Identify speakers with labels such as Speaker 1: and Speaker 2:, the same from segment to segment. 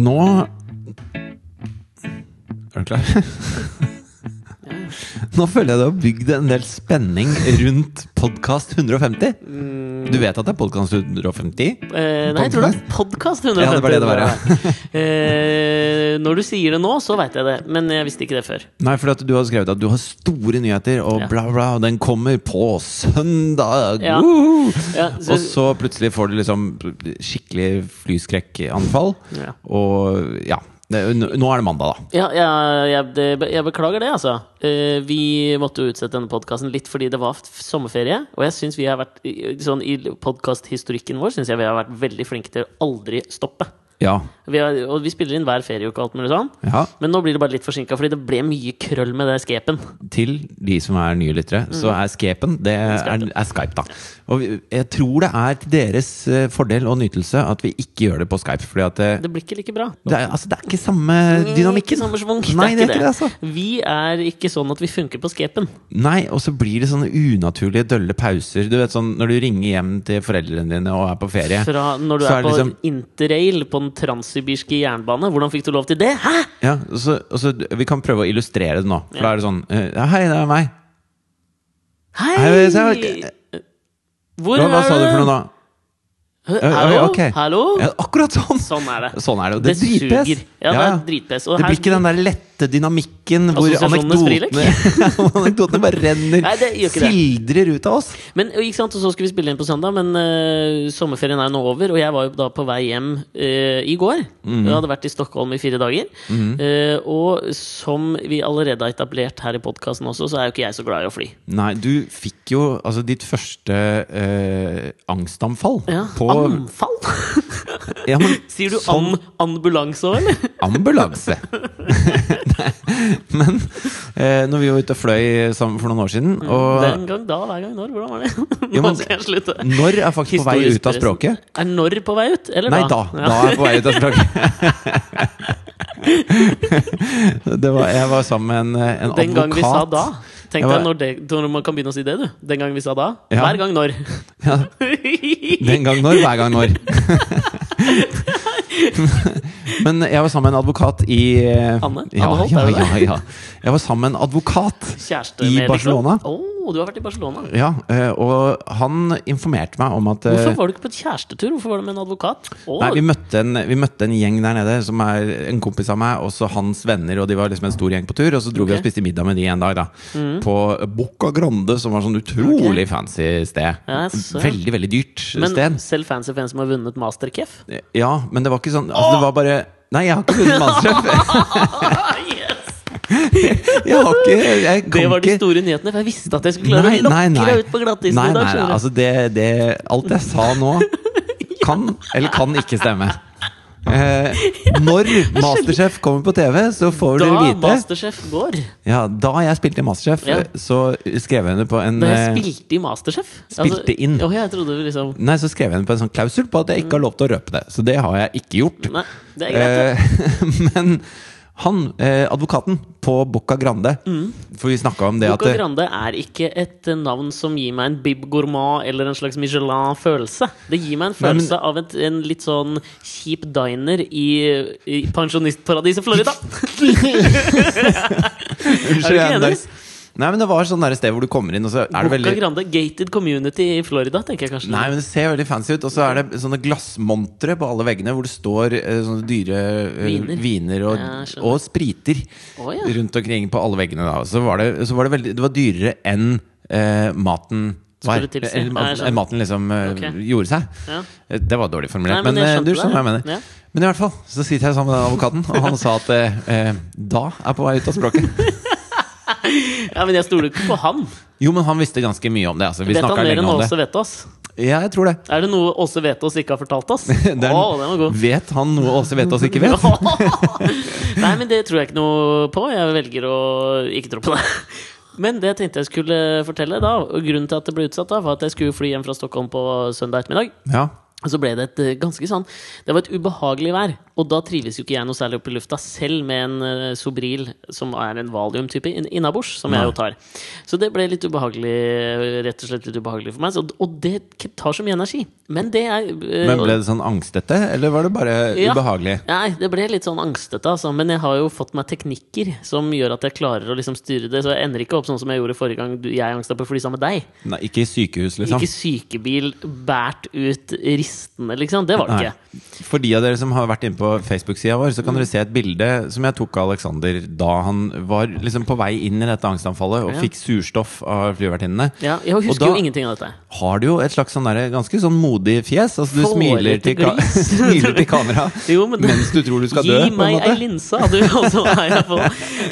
Speaker 1: Nå Er du klar? Nå føler jeg du har bygd en del spenning rundt podkast 150.
Speaker 2: Mm.
Speaker 1: Du vet at det er podkast 150?
Speaker 2: Eh, nei, jeg tror det er podkast 150.
Speaker 1: Ja, det var det det var,
Speaker 2: Eh, når du sier det nå, så veit jeg det. Men jeg visste ikke det før.
Speaker 1: Nei, for at du har skrevet at du har store nyheter, og
Speaker 2: Ja.
Speaker 1: bla, bla, og den kommer på søndag!
Speaker 2: Ja.
Speaker 1: Woohoo!
Speaker 2: Ja, så,
Speaker 1: Og så plutselig får du liksom skikkelig flyskrekkanfall.
Speaker 2: Ja.
Speaker 1: Og ja. Det, nå nå er det mandag, da.
Speaker 2: ja, ja, jeg, det, jeg beklager det, altså. Eh, vi måtte jo utsette denne podkasten litt fordi det var f- sommerferie. Og jeg synes vi har vært i- sånn, i podkasthistorikken vår syns jeg vi har vært veldig flinke til å aldri stoppe.
Speaker 1: Ja.
Speaker 2: Vi har, og vi spiller inn hver ferieuke og alt mulig sånn.
Speaker 1: ja.
Speaker 2: Men nå blir det bare litt forsinka, fordi det ble mye krøll med det skepen.
Speaker 1: Til de som er nye lyttere,
Speaker 2: Mm.
Speaker 1: så er Skepen det er, er Skype, da. Og vi- jeg tror det er til deres eh, fordel og nytelse at vi ikke gjør det på Skype. Fordi at det,
Speaker 2: Det blir ikke like bra.
Speaker 1: det, er, altså, det er ikke samme
Speaker 2: Mm, Ikke
Speaker 1: dynamikken.
Speaker 2: samme schwung. Det er
Speaker 1: Nei, det er
Speaker 2: ikke
Speaker 1: ikke det, altså.
Speaker 2: Vi er ikke sånn at vi funker på skepen.
Speaker 1: Nei, og så blir det sånne unaturlige, dølle pauser. Du vet sånn når du ringer hjem til foreldrene dine og er på ferie.
Speaker 2: Fra når du
Speaker 1: Så
Speaker 2: er,
Speaker 1: er det
Speaker 2: på
Speaker 1: liksom-
Speaker 2: interrail på den transsibirske jernbane. Hvordan fikk du lov til det? Hæ?!
Speaker 1: Ja, og så, og så, vi kan prøve å illustrere det nå. For da er det sånn eh, ja, Hei, det er meg.
Speaker 2: Hei!
Speaker 1: Hei, jeg sa-
Speaker 2: Hvor
Speaker 1: Hva, hva sa du for noe da?
Speaker 2: Hø-
Speaker 1: Ja,
Speaker 2: Hallo?
Speaker 1: ok.
Speaker 2: Hallo?
Speaker 1: Ja, akkurat sånn!
Speaker 2: Sånn er det.
Speaker 1: Sånn er det. Og det, er
Speaker 2: Det
Speaker 1: dritpes.
Speaker 2: suger. Ja, det er dritpes. Og
Speaker 1: det
Speaker 2: her-
Speaker 1: blir ikke den der lette dynamikken hvor
Speaker 2: Assosiasjonenes
Speaker 1: anekdotene, anekdotene bare renner,
Speaker 2: Nei, det gjør ikke det.
Speaker 1: sildrer ut av oss.
Speaker 2: Men ikke sant, og Så skulle vi spille inn på søndag, men eh, sommerferien er nå over. Og jeg var jo da på vei hjem eh, i går.
Speaker 1: Mhm.
Speaker 2: Jeg hadde vært i Stockholm i fire dager. Eh, og som vi allerede har etablert her i podkasten også, så er jo ikke jeg så glad i å fly.
Speaker 1: Nei, du fikk jo altså ditt første eh, angstanfall
Speaker 2: Ja,
Speaker 1: på
Speaker 2: Anfall?
Speaker 1: ja, men,
Speaker 2: Sier du
Speaker 1: sånn
Speaker 2: an ambulanse òg, eller?
Speaker 1: ambulanse. Nei, men eh, når vi var ute og fløy sammen for noen år siden
Speaker 2: Mm,
Speaker 1: og
Speaker 2: Den gang da, hver gang når? Hvordan var det? Nå
Speaker 1: Jo, men-
Speaker 2: skal jeg slutte.
Speaker 1: Når er faktisk på vei ut av
Speaker 2: Historisk
Speaker 1: språket?
Speaker 2: Er når på vei ut, eller
Speaker 1: Nei, da.
Speaker 2: da?
Speaker 1: Da er jeg på vei ut av språket. det var, jeg var sammen med en, eh, en
Speaker 2: Den gang
Speaker 1: advokat.
Speaker 2: vi sa da. Tenk
Speaker 1: Jeg
Speaker 2: deg
Speaker 1: var-
Speaker 2: når, det, når man kan begynne å si det, du. Den gang vi sa da.
Speaker 1: Ja.
Speaker 2: Hver gang når.
Speaker 1: Ja, den gang når, hver gang når. Men jeg var sammen med en advokat i eh,
Speaker 2: Anne?
Speaker 1: Ja,
Speaker 2: Anne Holt,
Speaker 1: ja,
Speaker 2: er det det?
Speaker 1: ja, ja. Jeg var sammen med en advokat.
Speaker 2: Kjæreste
Speaker 1: I
Speaker 2: med,
Speaker 1: Barcelona?
Speaker 2: Liksom. Å, du har vært i Barcelona.
Speaker 1: Ja, eh, og han informerte meg om at eh,
Speaker 2: Hvorfor var du ikke på et kjærestetur? Hvorfor var du med en advokat? Å,
Speaker 1: Nei, vi møtte, en, vi møtte en gjeng der nede som er en kompis av meg, og så hans venner, og de var liksom en stor gjeng på tur. Og så dro vi
Speaker 2: Ok. Mm.
Speaker 1: og spiste middag med de en dag, da. På Bocca Grande, som var sånn utrolig fancy sted.
Speaker 2: Ja, jeg ser.
Speaker 1: veldig, veldig dyrt
Speaker 2: men
Speaker 1: sted.
Speaker 2: selv fancy fans som har vunnet Masterchef?
Speaker 1: Ja, men det var ikke sånn altså, Det var bare Nei, jeg har ikke vunnet Masterchef!
Speaker 2: Ah, yes!
Speaker 1: Jeg har ikke jeg
Speaker 2: Det
Speaker 1: kan
Speaker 2: var de
Speaker 1: ikke-
Speaker 2: store nyhetene, for jeg visste at jeg skulle klare å lokke deg ut på glattisen
Speaker 1: nei,
Speaker 2: i dag.
Speaker 1: nei, nei,
Speaker 2: skjønner du.
Speaker 1: altså det, det Alt jeg sa nå, kan eller kan ikke stemme. Eh, når Masterchef kommer på TV, så får
Speaker 2: da
Speaker 1: dere vite
Speaker 2: Masterchef går.
Speaker 1: Ja, da jeg spilte i Masterchef,
Speaker 2: Ja.
Speaker 1: så skrev jeg henne på en
Speaker 2: Da jeg
Speaker 1: eh,
Speaker 2: spilte i Masterchef.
Speaker 1: spilte inn.
Speaker 2: Å, jeg trodde vi liksom
Speaker 1: Nei, så skrev jeg henne på en sånn klausul på at jeg ikke har lov til å røpe det. Så det har jeg ikke gjort.
Speaker 2: Nei, det er greit. det.
Speaker 1: Eh, men han, eh, advokaten på Bocca Grande
Speaker 2: Mm.
Speaker 1: For vi snakka om det
Speaker 2: Coca
Speaker 1: at eh,
Speaker 2: Grande er ikke et eh, navn som gir meg en Bib Gourmand eller en slags Michelin-følelse. Det gir meg
Speaker 1: Nei,
Speaker 2: en
Speaker 1: men-
Speaker 2: følelse av et, en litt sånn kjip diner i, i pensjonistparadiset Florida.
Speaker 1: Unnskyld,
Speaker 2: ikke
Speaker 1: jeg-
Speaker 2: enig?
Speaker 1: Nei, men det var sånn der sted hvor du kommer inn, og så er det
Speaker 2: Coca
Speaker 1: veldig
Speaker 2: Grande, gated community i Florida, tenker jeg kanskje.
Speaker 1: Nei, men det ser veldig fancy ut. Og så er det sånne glassmontre på alle veggene hvor det står eh, sånne dyre eh,
Speaker 2: Viner.
Speaker 1: viner, og,
Speaker 2: Ja, jeg skjønner.
Speaker 1: og spriter
Speaker 2: Å, ja.
Speaker 1: rundt omkring på alle veggene. Da. Så, var det, så var det veldig Det var dyrere enn eh, maten var.
Speaker 2: Skulle tilsi.
Speaker 1: Eller
Speaker 2: Ja, jeg
Speaker 1: maten,
Speaker 2: skjønner.
Speaker 1: maten liksom eh,
Speaker 2: Ok.
Speaker 1: gjorde seg.
Speaker 2: Ja.
Speaker 1: Eh, Det var dårlig formulert,
Speaker 2: Nei, men
Speaker 1: men, eh,
Speaker 2: jeg skjønte
Speaker 1: du
Speaker 2: det,
Speaker 1: skjønner hva jeg
Speaker 2: ja.
Speaker 1: mener.
Speaker 2: Ja.
Speaker 1: Men i hvert fall så sitter jeg sammen med den advokaten, og han sa at eh, eh, da er på vei ut av språket.
Speaker 2: Ja, men jeg stoler ikke på han.
Speaker 1: Jo, men han visste ganske mye om det. Altså. Vi
Speaker 2: Vet han
Speaker 1: snakka
Speaker 2: mer
Speaker 1: lenge
Speaker 2: enn
Speaker 1: om det.
Speaker 2: Åse Vetås?
Speaker 1: Ja, jeg tror det.
Speaker 2: Er det noe Åse Vetås ikke har fortalt oss? Å,
Speaker 1: Det er-
Speaker 2: den var god.
Speaker 1: Vet han noe Åse vet oss ikke vet?
Speaker 2: Nei, men det tror jeg ikke noe på. Jeg velger å ikke tro på det. Men det jeg tenkte jeg skulle fortelle, da, og grunnen til at det ble utsatt, da, var at jeg skulle fly hjem fra Stockholm på søndag ettermiddag.
Speaker 1: Ja
Speaker 2: Og så ble det et eh, ganske sånn Det var et ubehagelig vær. Og da trives jo ikke jeg noe særlig oppe i lufta, selv med en eh, Sobril, som er en valiumtype in- innabords, som jeg jo tar. Så det ble litt ubehagelig, eh, rett og slett litt ubehagelig for meg. Så, og det k- tar så mye energi. Men det er eh,
Speaker 1: Men ble det sånn angstete, eller var det bare
Speaker 2: Ja.
Speaker 1: ubehagelig?
Speaker 2: Nei, det ble litt sånn angstete, altså. Men jeg har jo fått meg teknikker som gjør at jeg klarer å liksom styre det. Så jeg ender ikke opp sånn som jeg gjorde forrige gang du- jeg angsta på fly sammen med deg.
Speaker 1: Nei, ikke i sykehus, liksom?
Speaker 2: Ikke sykebil båret ut ristende, liksom. Det var det ikke.
Speaker 1: Nei. For de av dere som har vært inne på Facebook-sida vår, så kan dere se et bilde som jeg tok av Alexander da han var liksom på vei inn i dette angstanfallet og
Speaker 2: Ja.
Speaker 1: fikk surstoff av flyvertinnene.
Speaker 2: Ja, jeg
Speaker 1: Og
Speaker 2: husker
Speaker 1: da-
Speaker 2: jo ingenting av dette.
Speaker 1: Har du jo et slags sånn derre ganske sånn modig fjes? Altså du
Speaker 2: Fårete
Speaker 1: smiler til, ka
Speaker 2: gris.
Speaker 1: smiler til kamera
Speaker 2: Jo, men-
Speaker 1: mens du tror du skal dø, på
Speaker 2: Gi
Speaker 1: en
Speaker 2: meg ei
Speaker 1: måte.
Speaker 2: linse, hadde du også heia på.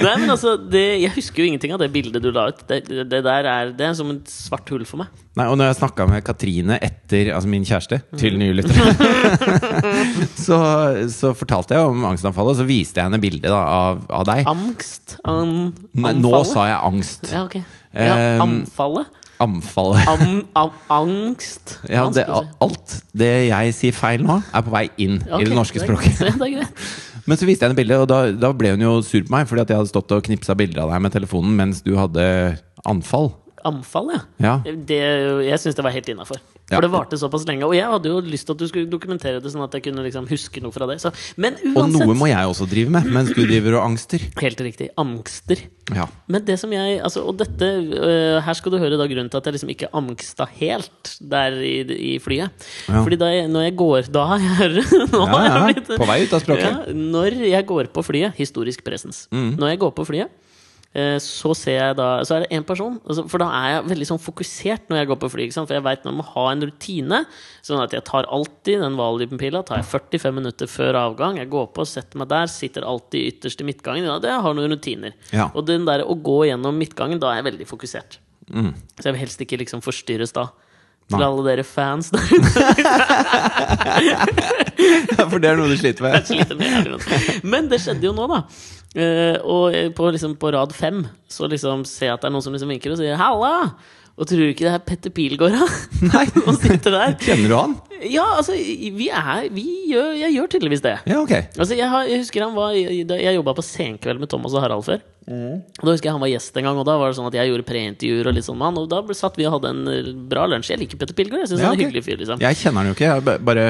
Speaker 2: Nei, men altså, det, jeg husker jo ingenting av det bildet du la ut. Det, det der er, det er som et svart hull for meg.
Speaker 1: Nei, og når jeg snakka med Katrine etter Altså min kjæreste, til nye lyttere, så, så fortalte jeg om angstanfallet, og så viste jeg henne bildet da, av, av deg.
Speaker 2: Angst? An,
Speaker 1: Nei, nå sa jeg angst.
Speaker 2: Ja, ok. Ja,
Speaker 1: Ehm,
Speaker 2: anfallet?
Speaker 1: Amfallet.
Speaker 2: Am, am, angst?
Speaker 1: Ja, det,
Speaker 2: Vanskelig å si.
Speaker 1: alt det jeg sier feil nå, er på vei inn
Speaker 2: Ok,
Speaker 1: i det norske
Speaker 2: er-
Speaker 1: språket.
Speaker 2: Det er greit.
Speaker 1: Men så viste jeg henne bildet, og da, da ble hun jo sur på meg, fordi at jeg hadde stått og knipsa bilder av deg med telefonen mens du hadde anfall.
Speaker 2: Anfall, ja.
Speaker 1: Ja.
Speaker 2: Det, jeg syns det var helt innafor. For
Speaker 1: Ja.
Speaker 2: det varte såpass lenge. Og jeg hadde jo lyst til at du skulle dokumentere det, sånn at jeg kunne liksom huske noe fra det. Så, men
Speaker 1: Og
Speaker 2: uansett
Speaker 1: noe må jeg også drive med, mens du driver og angster.
Speaker 2: Helt riktig. Angster.
Speaker 1: Ja.
Speaker 2: Men det som jeg, altså, og dette, øh, her skal du høre da grunnen til at jeg liksom ikke angsta helt der i, i flyet.
Speaker 1: Ja.
Speaker 2: Fordi da jeg, når jeg går Da har jeg, nå
Speaker 1: Ja,
Speaker 2: har jeg
Speaker 1: ja,
Speaker 2: blitt
Speaker 1: på vei ut av språket.
Speaker 2: Ja, når jeg går på flyet Historisk presens.
Speaker 1: Mm.
Speaker 2: Når jeg går på flyet, eh, så ser jeg da Så er det én person. altså, For da er jeg veldig sånn fokusert når jeg går på fly. Ikke sant? For jeg veit man må ha en rutine. Sånn at jeg tar alltid den valiumpila. Tar jeg 45 minutter før avgang. Jeg går på, setter meg der, sitter alltid ytterst i midtgangen. Ja, det jeg har noen rutiner.
Speaker 1: Ja.
Speaker 2: Og den der å gå gjennom midtgangen, da er jeg veldig fokusert. Så jeg vil helst ikke liksom forstyrres da. Til
Speaker 1: Mm. Nei.
Speaker 2: alle dere fans der ute.
Speaker 1: For det er noe du sliter med.
Speaker 2: sliter med jævlig godt. Men det skjedde jo nå, da. Eh, og eh, på, liksom, på rad fem så liksom ser jeg at det er noen som liksom vinker og sier 'halla'. Og tror du ikke det er Petter Pilgaard, da?
Speaker 1: Nei,
Speaker 2: Som sitter der?
Speaker 1: Kjenner du han?
Speaker 2: Ja, altså, vi er Vi gjør Jeg gjør tydeligvis det.
Speaker 1: Ja, ok.
Speaker 2: Altså, jeg, har, jeg husker han var i- da Jeg jobba på Senkveld med Thomas og Harald før.
Speaker 1: Mm.
Speaker 2: Og Da husker jeg han var gjest en gang, og da var det sånn at jeg gjorde preintervjuer. Og litt sånn med han, Og da ble- satt vi og hadde en eh, bra lunsj. Jeg liker Petter Pilgaard. Jeg synes
Speaker 1: Ja,
Speaker 2: han er en
Speaker 1: ok.
Speaker 2: hyggelig fyr. liksom
Speaker 1: Jeg kjenner han jo ikke, jeg b- bare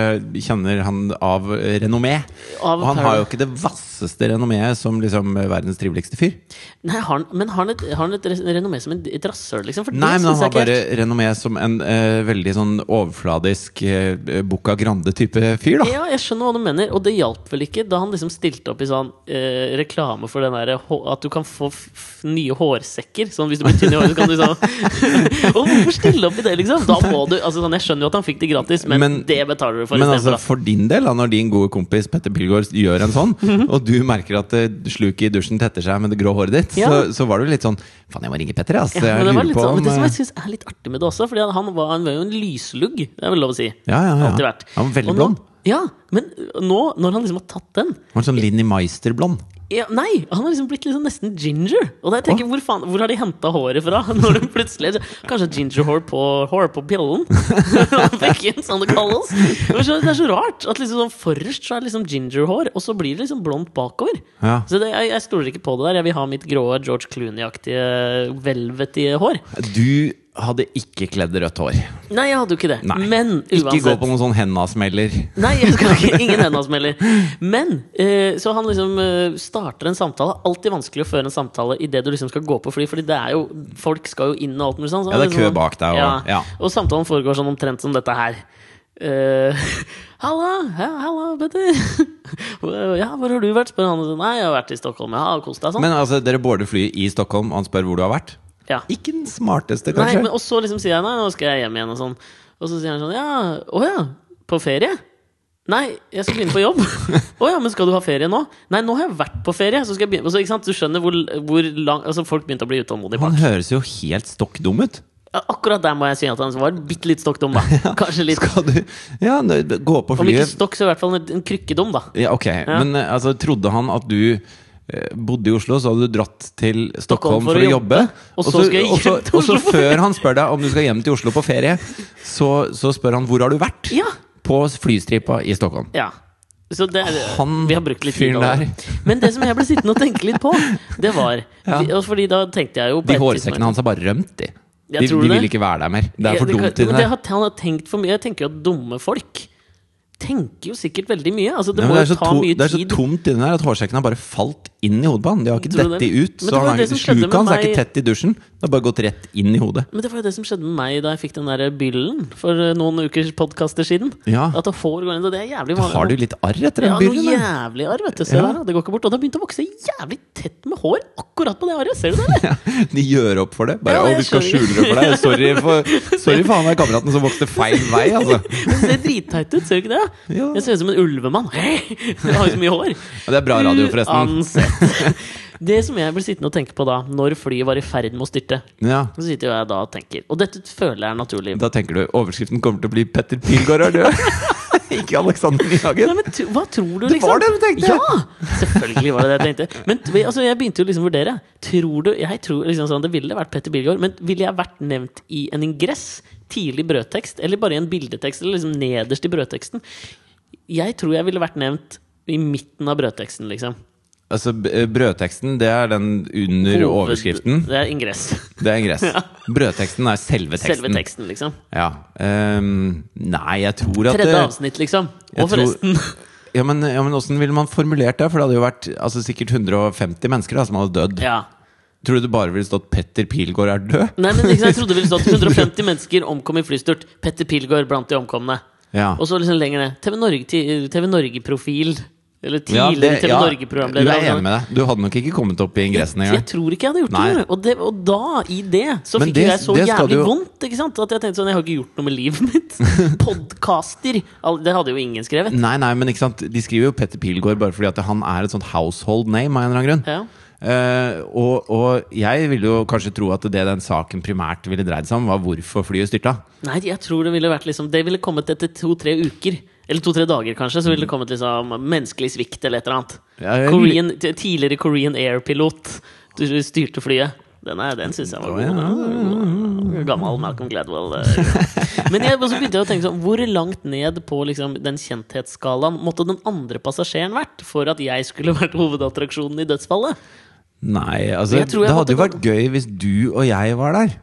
Speaker 1: kjenner han av eh, renommé.
Speaker 2: Av
Speaker 1: Og han har
Speaker 2: Paradise.
Speaker 1: jo ikke det vasseste renommeet som liksom eh, verdens triveligste fyr.
Speaker 2: Nei, har han, Men har han et, har han et res- renommé som en- et rasshøl, liksom? For
Speaker 1: Nei,
Speaker 2: det
Speaker 1: men han
Speaker 2: synes jeg
Speaker 1: har
Speaker 2: ikke
Speaker 1: bare
Speaker 2: helt-
Speaker 1: renommé som en eh, veldig sånn overfladisk uh, Bucca Grande-type fyr, da.
Speaker 2: Ja, jeg skjønner hva du mener, og det hjalp vel ikke da han liksom stilte opp i sånn eh, reklame for den der, hå- at du kan få f f nye hårsekker. Sånn hvis du blir tynn i håret, så kan du sånn Og hvorfor stille opp i det, liksom? Da må du altså sånn, Jeg skjønner jo at han fikk det gratis, men,
Speaker 1: Men-
Speaker 2: det betaler du for.
Speaker 1: Men
Speaker 2: istedenfor,
Speaker 1: altså, for din del, da, når din gode kompis Petter Pilgaard gjør en sånn,
Speaker 2: Mhm.
Speaker 1: og du merker at eh, sluket i dusjen tetter seg med det grå håret ditt,
Speaker 2: Ja.
Speaker 1: så, så var du litt sånn Faen, jeg må ringe Petter, ass.
Speaker 2: da. ja,
Speaker 1: jeg
Speaker 2: men det, var
Speaker 1: lurer
Speaker 2: litt
Speaker 1: på
Speaker 2: sånn, men det som
Speaker 1: om eh»
Speaker 2: jeg synes er litt artig med det også, Fordi han var, han var jo en lyslugg, det er vel lov å si.
Speaker 1: Ja, ja, ja.
Speaker 2: Alltid vært.
Speaker 1: Han var veldig
Speaker 2: Og nå-
Speaker 1: blond.
Speaker 2: Ja, men nå, når han liksom har tatt den
Speaker 1: Han var sånn Linni Meister-blond.
Speaker 2: Ja, nei, han har liksom blitt liksom nesten ginger. Og da tenker jeg, hvor, faen, hvor har de henta håret fra? Når du plutselig Kanskje ginger hår på, hår på pillen? Bekken, som det kalles. Men så, det er så rart at liksom sånn forrest så er det liksom ginger hår, og så blir det liksom blondt bakover.
Speaker 1: Ja.
Speaker 2: Så det, jeg, jeg stoler ikke på det der. Jeg vil ha mitt grå George Clooney-aktige, velvete hår.
Speaker 1: Du hadde ikke kledd rødt hår.
Speaker 2: Nei, jeg hadde jo ikke det.
Speaker 1: Nei.
Speaker 2: Men
Speaker 1: Ikke gå
Speaker 2: uansett.
Speaker 1: på noen sånn henda-smeller.
Speaker 2: Nei, jeg skal ikke, ingen hendasmeller. Men eh, så han liksom eh, starter en samtale. Alltid vanskelig å føre en samtale idet du liksom skal gå på fly. Fordi det er jo, folk skal jo inn og alt mulig sånn. så
Speaker 1: Ja,
Speaker 2: han
Speaker 1: det er kø
Speaker 2: liksom-
Speaker 1: bak deg, og- ja.
Speaker 2: og samtalen foregår sånn omtrent som dette her. Eh, halla, ja, halla, Petter. ja, hvor har du vært? spør han. Nei, jeg har vært i Stockholm. Ja, og kost deg sånn.
Speaker 1: Men altså, dere boarder flyet i Stockholm, og han spør hvor du har vært.
Speaker 2: ja.
Speaker 1: Ikke den smarteste,
Speaker 2: Nei,
Speaker 1: kanskje.
Speaker 2: men, og så liksom sier jeg nei, nå skal jeg hjem igjen og sånn. Og så sier han sånn ja, å ja, på ferie? Nei, jeg skal begynne på jobb. Å ja, men skal du ha ferie nå? Nei, nå har jeg vært på ferie. Så skal jeg begynne, og så, ikke sant, Du skjønner hvor, hvor lang Altså, folk begynte å bli utålmodige.
Speaker 1: Han høres jo helt stokk dum ut.
Speaker 2: Ja, Akkurat der må jeg si at han var bitte litt stokk dum, da. Kanskje litt.
Speaker 1: Skal du Ja, nå- gå på
Speaker 2: Om ikke
Speaker 1: flyet
Speaker 2: stokk, så i hvert fall en en krykkdum, da.
Speaker 1: ja, Ok, men eh, altså, trodde han at du eh, bodde i Oslo, så hadde du dratt til Stockholm for, å jobbe.
Speaker 2: og så skal jeg
Speaker 1: og så,
Speaker 2: hjem til
Speaker 1: og så
Speaker 2: Oslo for-
Speaker 1: før han spør deg om du skal hjem til Oslo på ferie, så, så spør han hvor har du vært?
Speaker 2: Ja,
Speaker 1: på flystripa i Stockholm.
Speaker 2: Ja. Så det, er-
Speaker 1: Han
Speaker 2: vi har brukt litt tid
Speaker 1: fyren
Speaker 2: over det. Men det som jeg ble sittende og tenke litt på, det var
Speaker 1: Ja.
Speaker 2: vi- og Fordi da tenkte jeg jo på
Speaker 1: De
Speaker 2: et tidspunkt-
Speaker 1: hårsekkene hans har bare rømt, de.
Speaker 2: Ja,
Speaker 1: De,
Speaker 2: tror
Speaker 1: de
Speaker 2: du det?
Speaker 1: vil ikke være der mer. Det er for
Speaker 2: Ja,
Speaker 1: dumt.
Speaker 2: kan-
Speaker 1: i den
Speaker 2: det
Speaker 1: der.
Speaker 2: har, Han har tenkt for mye. Jeg tenker jo at dumme folk tenker jo sikkert veldig mye. Altså, det
Speaker 1: Nei, men
Speaker 2: må
Speaker 1: det, er
Speaker 2: jo
Speaker 1: så
Speaker 2: ta
Speaker 1: to,
Speaker 2: mye
Speaker 1: det er så
Speaker 2: tid.
Speaker 1: tomt inni der at hårsekken har bare falt inn i hodet på han. De har ikke
Speaker 2: Tror du
Speaker 1: dett de
Speaker 2: det?
Speaker 1: ut. Så
Speaker 2: Men det var
Speaker 1: han er
Speaker 2: det
Speaker 1: ikke,
Speaker 2: som skjedde med
Speaker 1: sluket hans er
Speaker 2: meg-
Speaker 1: ikke tett i dusjen. Det har bare gått rett inn i hodet.
Speaker 2: Men det var jo det som skjedde med meg da jeg fikk den der byllen for eh, noen ukers podkaster siden.
Speaker 1: Ja.
Speaker 2: At det foregår inn, og det er jævlig
Speaker 1: Da
Speaker 2: vanlig.
Speaker 1: har du litt arr etter den
Speaker 2: ja, noe
Speaker 1: byllen. da.
Speaker 2: jævlig arr, vet du. Se
Speaker 1: Ja.
Speaker 2: der, da. det går ikke bort. Og det har begynt å vokse jævlig tett med hår akkurat på det arret. Ser du det? eller?
Speaker 1: De gjør opp for det. Bare
Speaker 2: Ja,
Speaker 1: 'Å,
Speaker 2: jeg
Speaker 1: vi skal
Speaker 2: skjønner.
Speaker 1: skjule det for deg'. Sorry, for, sorry faen meg kameraten som vokste feil vei, altså.
Speaker 2: Det ser dritteit ut, ser du ikke det?
Speaker 1: Ja.
Speaker 2: Jeg ser ut som en ulvemann. Jeg har jo så mye hår.
Speaker 1: Ja, det er bra radio,
Speaker 2: Mm,
Speaker 1: forresten.
Speaker 2: Uansett. Det som jeg ble sittende og tenke på da, når flyet var i ferd med å styrte
Speaker 1: Ja,
Speaker 2: Så sitter jo jeg da og tenker, og dette føler jeg er naturlig.
Speaker 1: da tenker du overskriften kommer til å bli 'Petter Pilgaard er død'. ikke Alexander
Speaker 2: Nei,
Speaker 1: Nyhagen.
Speaker 2: men tro- Hva tror du,
Speaker 1: Det
Speaker 2: liksom?
Speaker 1: var det du tenkte!
Speaker 2: Ja! Selvfølgelig var det det jeg tenkte. Men t- altså, jeg begynte jo liksom å vurdere. Tror du, jeg tror liksom sånn, Det ville vært Petter Bilgaard, men ville jeg vært nevnt i en ingress? Tidlig brødtekst? Eller bare i en bildetekst? Eller liksom nederst i brødteksten? Jeg tror jeg ville vært nevnt i midten av brødteksten, liksom.
Speaker 1: Altså, b- brødteksten, det er den under
Speaker 2: Hoved-
Speaker 1: overskriften.
Speaker 2: Det er ingress.
Speaker 1: Det er ingress. Brødteksten er selve
Speaker 2: Selve
Speaker 1: teksten.
Speaker 2: teksten, liksom.
Speaker 1: Ja. ehm, nei, jeg tror at
Speaker 2: Tredje
Speaker 1: eh,
Speaker 2: avsnitt, liksom.
Speaker 1: jeg
Speaker 2: Og forresten.
Speaker 1: Ja, men, ja, men Åssen ville man formulert det? For det hadde jo vært altså, sikkert 150 mennesker da, som hadde dødd.
Speaker 2: Ja.
Speaker 1: Tror du det bare ville stått 'Petter Pilgaard er død'?
Speaker 2: Nei, men ikke sant, Jeg trodde det ville stått 150 mennesker omkom i flystyrt. Petter Pilgaard blant de omkomne.
Speaker 1: Ja.
Speaker 2: Og så liksom lenger ned. TV Norge- ti- TV Norge-profil. eller
Speaker 1: Ja,
Speaker 2: tidligere
Speaker 1: det-
Speaker 2: TV
Speaker 1: ja,
Speaker 2: Norge-programleder.
Speaker 1: Du er enig med deg. Du hadde nok ikke kommet opp i ingressen
Speaker 2: Jeg
Speaker 1: engang.
Speaker 2: tror ikke jeg hadde gjort
Speaker 1: Nei.
Speaker 2: det. Og, det. og da, i det, så
Speaker 1: Men
Speaker 2: fikk
Speaker 1: det-
Speaker 2: jeg så
Speaker 1: det skal du
Speaker 2: jævlig
Speaker 1: jo-
Speaker 2: vondt. ikke sant? At jeg tenkte sånn Jeg har ikke gjort noe med livet mitt. Podkaster! Al- Det hadde jo ingen skrevet.
Speaker 1: Nei, nei, men ikke sant De skriver jo Petter Pilgaard bare fordi at han er et sånt household name av en eller annen grunn.
Speaker 2: Ja.
Speaker 1: Eh, og, og jeg ville jo kanskje tro at det den saken primært ville dreid seg om, var hvorfor flyet styrta.
Speaker 2: Nei, jeg tror det ville vært liksom Det ville kommet etter to-tre uker. Eller to-tre dager, kanskje. Så ville det kommet liksom menneskelig svikt eller et eller annet.
Speaker 1: Mm. Ja, jeg-
Speaker 2: Korean, t- tidligere Korean Air-pilot du styrte flyet. Den, er, den syns jeg var god. da. Gammel Malcolm Gladwell. eh, ja. Men jeg, og så begynte jeg å tenke sånn hvor langt ned på liksom, den kjenthetsskalaen måtte den andre passasjeren vært for at jeg skulle vært hovedattraksjonen i dødsfallet?
Speaker 1: Nei, altså
Speaker 2: Jeg tror jeg
Speaker 1: Det hadde jo
Speaker 2: måtte
Speaker 1: vært gøy hvis du og jeg var der.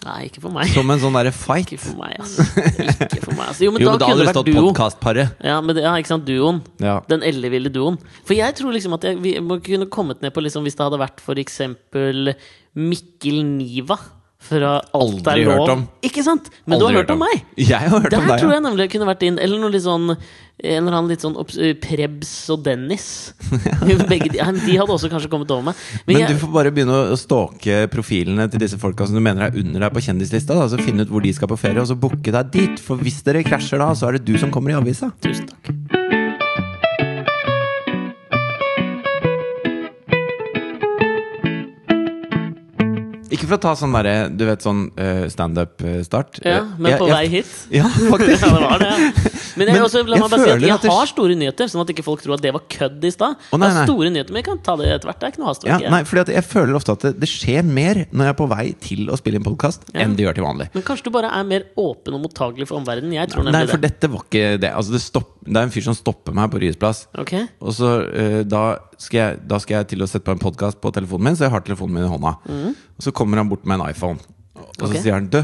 Speaker 2: Nei, ikke for meg.
Speaker 1: Som en sånn derre fight.
Speaker 2: Ikke for meg, altså. Ikke for meg, altså. Jo, men
Speaker 1: Jo,
Speaker 2: da,
Speaker 1: men da
Speaker 2: kunne
Speaker 1: hadde
Speaker 2: det
Speaker 1: det stått
Speaker 2: vært duo.
Speaker 1: podkastparet.
Speaker 2: Ja, men det, ja, ikke sant, duoen.
Speaker 1: Ja.
Speaker 2: Den elleville duoen. For jeg tror liksom at jeg, vi må kunne kommet ned på liksom Hvis det hadde vært for eksempel Mikkel Niva fra Alt
Speaker 1: Aldri
Speaker 2: er lov.
Speaker 1: hørt om.
Speaker 2: Ikke sant? Men du
Speaker 1: Aldri
Speaker 2: har hørt om meg!
Speaker 1: Jeg har hørt
Speaker 2: Der
Speaker 1: om deg. ja.
Speaker 2: tror jeg nemlig jeg kunne vært inn. Eller noe litt sånn en eller annen litt sånn obs- eh, Prebz og Dennis. Begge de, ja, men de hadde også kanskje kommet over meg. Men,
Speaker 1: Men
Speaker 2: jeg,
Speaker 1: du får bare begynne å stalke profilene til disse folka som du mener er under deg på kjendislista. Da. Så finne ut hvor de skal på ferie, og så booke deg dit. For hvis dere krasjer da, så er det du som kommer i avisa.
Speaker 2: Tusen takk.
Speaker 1: Ikke for å ta sånn derre, du vet sånn eh, standup-start.
Speaker 2: Ja, men på vei hit
Speaker 1: Ja, faktisk.
Speaker 2: Ja, det var det. ja. Men jeg,
Speaker 1: Men
Speaker 2: også, la
Speaker 1: jeg
Speaker 2: meg bare si at
Speaker 1: føler
Speaker 2: jeg
Speaker 1: at det-
Speaker 2: har store nyheter, sånn at ikke folk tror at det var kødd i stad.
Speaker 1: Å, nei,
Speaker 2: Jeg har
Speaker 1: nei.
Speaker 2: store nyheter, men jeg kan ta det etter hvert. Det er ikke noe hastverk.
Speaker 1: Ja,
Speaker 2: jeg.
Speaker 1: nei, fordi at jeg føler ofte at det, det skjer mer når jeg er på vei til å spille inn podkast,
Speaker 2: Ja.
Speaker 1: enn det gjør til vanlig.
Speaker 2: Men kanskje du bare er mer åpen og mottagelig for omverdenen. Jeg tror
Speaker 1: Nei,
Speaker 2: nemlig
Speaker 1: for
Speaker 2: det.
Speaker 1: dette var ikke det. Altså, det, stopp, det er en fyr som stopper meg på Ryes plass.
Speaker 2: Ok?
Speaker 1: Og så eh, da, skal jeg, da skal jeg til å sette på en podkast på telefonen min, så jeg har telefonen min i hånda. Og så kommer han bort med en iPhone, og så
Speaker 2: Mm. Ok.
Speaker 1: sier han Du,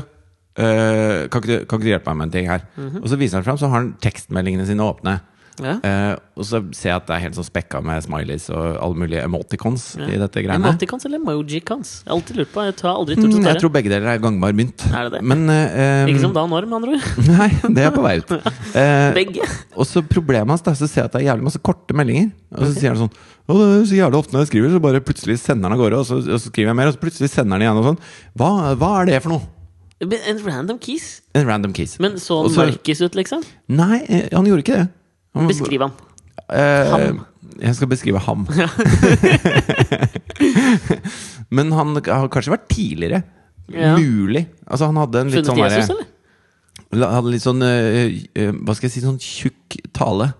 Speaker 1: eh, kan, ikke du, kan ikke du hjelpe meg med en ting her? Og så viser han fram, så har han tekstmeldingene sine åpne.
Speaker 2: Mhm. Ja.
Speaker 1: Eh, og så ser jeg at det er helt sånn spekka med smileys og alle mulige emoticons i dette greiene.
Speaker 2: Emoticons eller emojicons? Jeg har alltid lurt på. Jeg har aldri turt å
Speaker 1: Mm,
Speaker 2: ta
Speaker 1: jeg
Speaker 2: det.
Speaker 1: tror begge deler er gangbar mynt.
Speaker 2: Er det det?
Speaker 1: Men eh,
Speaker 2: Ikke som Dan Orm, med andre ord.
Speaker 1: Nei, det er på vei ut. Eh,
Speaker 2: Begge.
Speaker 1: og så problemet hans da, så ser jeg at det er jævlig masse korte meldinger. Og så sier han sånn Å, det er så jævlig ofte når jeg skriver, så bare plutselig sender han av gårde. Og så, og så skriver jeg mer, og så plutselig sender han igjen og sånn. Hva, hva er det for noe?
Speaker 2: Men En random keys.
Speaker 1: En random case.
Speaker 2: Men så
Speaker 1: Og
Speaker 2: han
Speaker 1: så-
Speaker 2: mørkis ut, liksom?
Speaker 1: Nei, eh, han gjorde ikke det. Han,
Speaker 2: Beskriv han.
Speaker 1: eh,
Speaker 2: ham.
Speaker 1: Jeg skal beskrive ham. Men han har kanskje vært tidligere.
Speaker 2: Ja.
Speaker 1: Mulig. Altså, han hadde en litt
Speaker 2: Funnet
Speaker 1: sånn derre-
Speaker 2: Jesus, eller?
Speaker 1: La- hadde litt sånn eh, eh, Hva skal jeg si, sånn tjukk tale.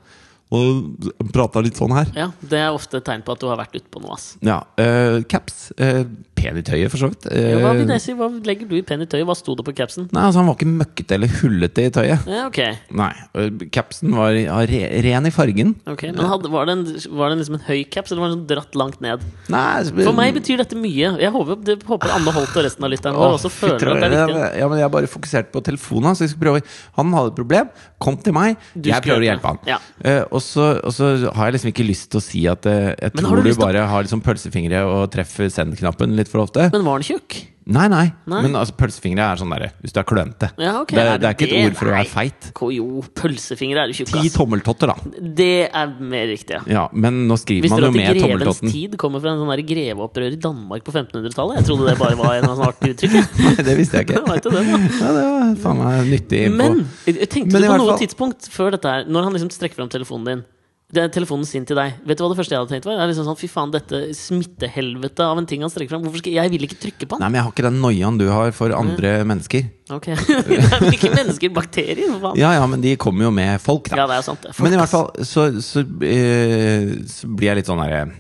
Speaker 1: Og prata litt sånn her.
Speaker 2: Ja, det er ofte et tegn på at du har vært ute på noe, ass.
Speaker 1: Ja. eh, caps. eh, pen i tøyet, for så vidt.
Speaker 2: Ja, hva,
Speaker 1: Eh,
Speaker 2: vil jeg si? hva legger du i pen i tøyet? Hva sto det på capsen?
Speaker 1: Nei, altså Han var ikke møkkete eller hullete i tøyet.
Speaker 2: Ja, ok,
Speaker 1: Nei, og Capsen var ja, re, ren i fargen.
Speaker 2: ok. Men hadde, var, det en, var det liksom en høy caps, eller var den sånn dratt langt ned?
Speaker 1: Nei,
Speaker 2: For meg betyr dette mye. Jeg håper, det, håper Anne Holt og resten av lytterne
Speaker 1: Åh,
Speaker 2: våre også
Speaker 1: fy
Speaker 2: føler at det er
Speaker 1: trøye.
Speaker 2: viktig.
Speaker 1: Ja, men jeg bare fokuserte på telefonen hans. så jeg skulle prøve- Han hadde et problem, kom til meg.
Speaker 2: Du
Speaker 1: jeg
Speaker 2: skulle
Speaker 1: prøver å
Speaker 2: hjelpe.
Speaker 1: hjelpe han.
Speaker 2: Ja.
Speaker 1: Eh, og, så, og så har jeg liksom ikke lyst til å si at eh, jeg
Speaker 2: Men har
Speaker 1: tror
Speaker 2: du
Speaker 1: du,
Speaker 2: lyst til å-
Speaker 1: bare har liksom pølsefingre og treffer send-knappen litt for ofte.
Speaker 2: Men var den tjukk?
Speaker 1: Nei, nei.
Speaker 2: Nei.
Speaker 1: Men altså, pølsefingre er sånn derre hvis du er klønete.
Speaker 2: Ja, ok,
Speaker 1: det,
Speaker 2: er
Speaker 1: er,
Speaker 2: det
Speaker 1: det er ikke
Speaker 2: det?
Speaker 1: et ord for å
Speaker 2: Nei.
Speaker 1: være feit.
Speaker 2: Ko- Jo, pølsefingre er jo tjukk,
Speaker 1: Ti
Speaker 2: ass.
Speaker 1: tommeltotter, da.
Speaker 2: Det er mer riktig, ja.
Speaker 1: Ja, men nå skriver
Speaker 2: Visste
Speaker 1: man jo
Speaker 2: du at
Speaker 1: med
Speaker 2: grevens
Speaker 1: tommeltotten.
Speaker 2: tid kommer fra en sånn der greveopprør i Danmark på 1500-tallet? Jeg trodde det bare var en sånn artig uttrykk. jeg.
Speaker 1: Nei, det visste jeg
Speaker 2: Jeg
Speaker 1: ikke.
Speaker 2: vet jo det, da.
Speaker 1: Ja, det var faen meg nyttig info.
Speaker 2: Men eh, tenkte
Speaker 1: Men i
Speaker 2: du på
Speaker 1: hvert
Speaker 2: noe
Speaker 1: fall-
Speaker 2: tidspunkt før dette her, når han liksom strekker fram telefonen din det er telefonen sin til deg. Vet du hva det første jeg hadde tenkt var? Det er liksom sånn, Fy faen, dette smittehelvetet av en ting han strekker fram. Hvorfor skal Jeg vil ikke trykke på han!
Speaker 1: Nei, men jeg har ikke den noiaen du har for andre mennesker.
Speaker 2: Ok, Det er vel ikke mennesker, bakterier, for faen!
Speaker 1: Ja ja, men de kommer jo med folk, da.
Speaker 2: Ja, det er altså. sant. det. Fuck,
Speaker 1: Men i hvert
Speaker 2: ass.
Speaker 1: fall så, så, eh, så blir jeg litt sånn derre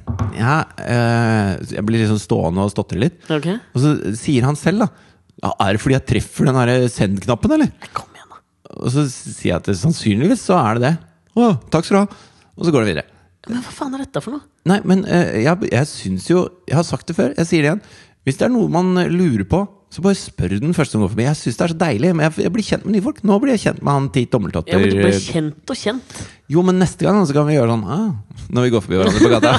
Speaker 1: Ja, eh, jeg blir liksom stående og stotre litt.
Speaker 2: Ok.
Speaker 1: Og så sier han selv, da. Ja, er det fordi jeg treffer den derre send-knappen, eller?
Speaker 2: Nei, Kom igjen, da.
Speaker 1: Og så sier jeg at det, sannsynligvis så er det det. Å, takk skal du ha. Og så går det videre.
Speaker 2: Men hva faen er dette for noe?
Speaker 1: Nei, men eh, jeg, jeg syns jo Jeg har sagt det før, jeg sier det igjen. Hvis det er noe man eh, lurer på, så bare spør den første som går forbi. Jeg syns det er så deilig, men jeg, jeg blir kjent med nye folk. Nå blir jeg kjent med han ti
Speaker 2: Ja, men Du ble
Speaker 1: tommeltotter.
Speaker 2: kjent og kjent.
Speaker 1: jo, men neste gang så kan vi gjøre sånn ah, når vi går forbi hverandre på gata.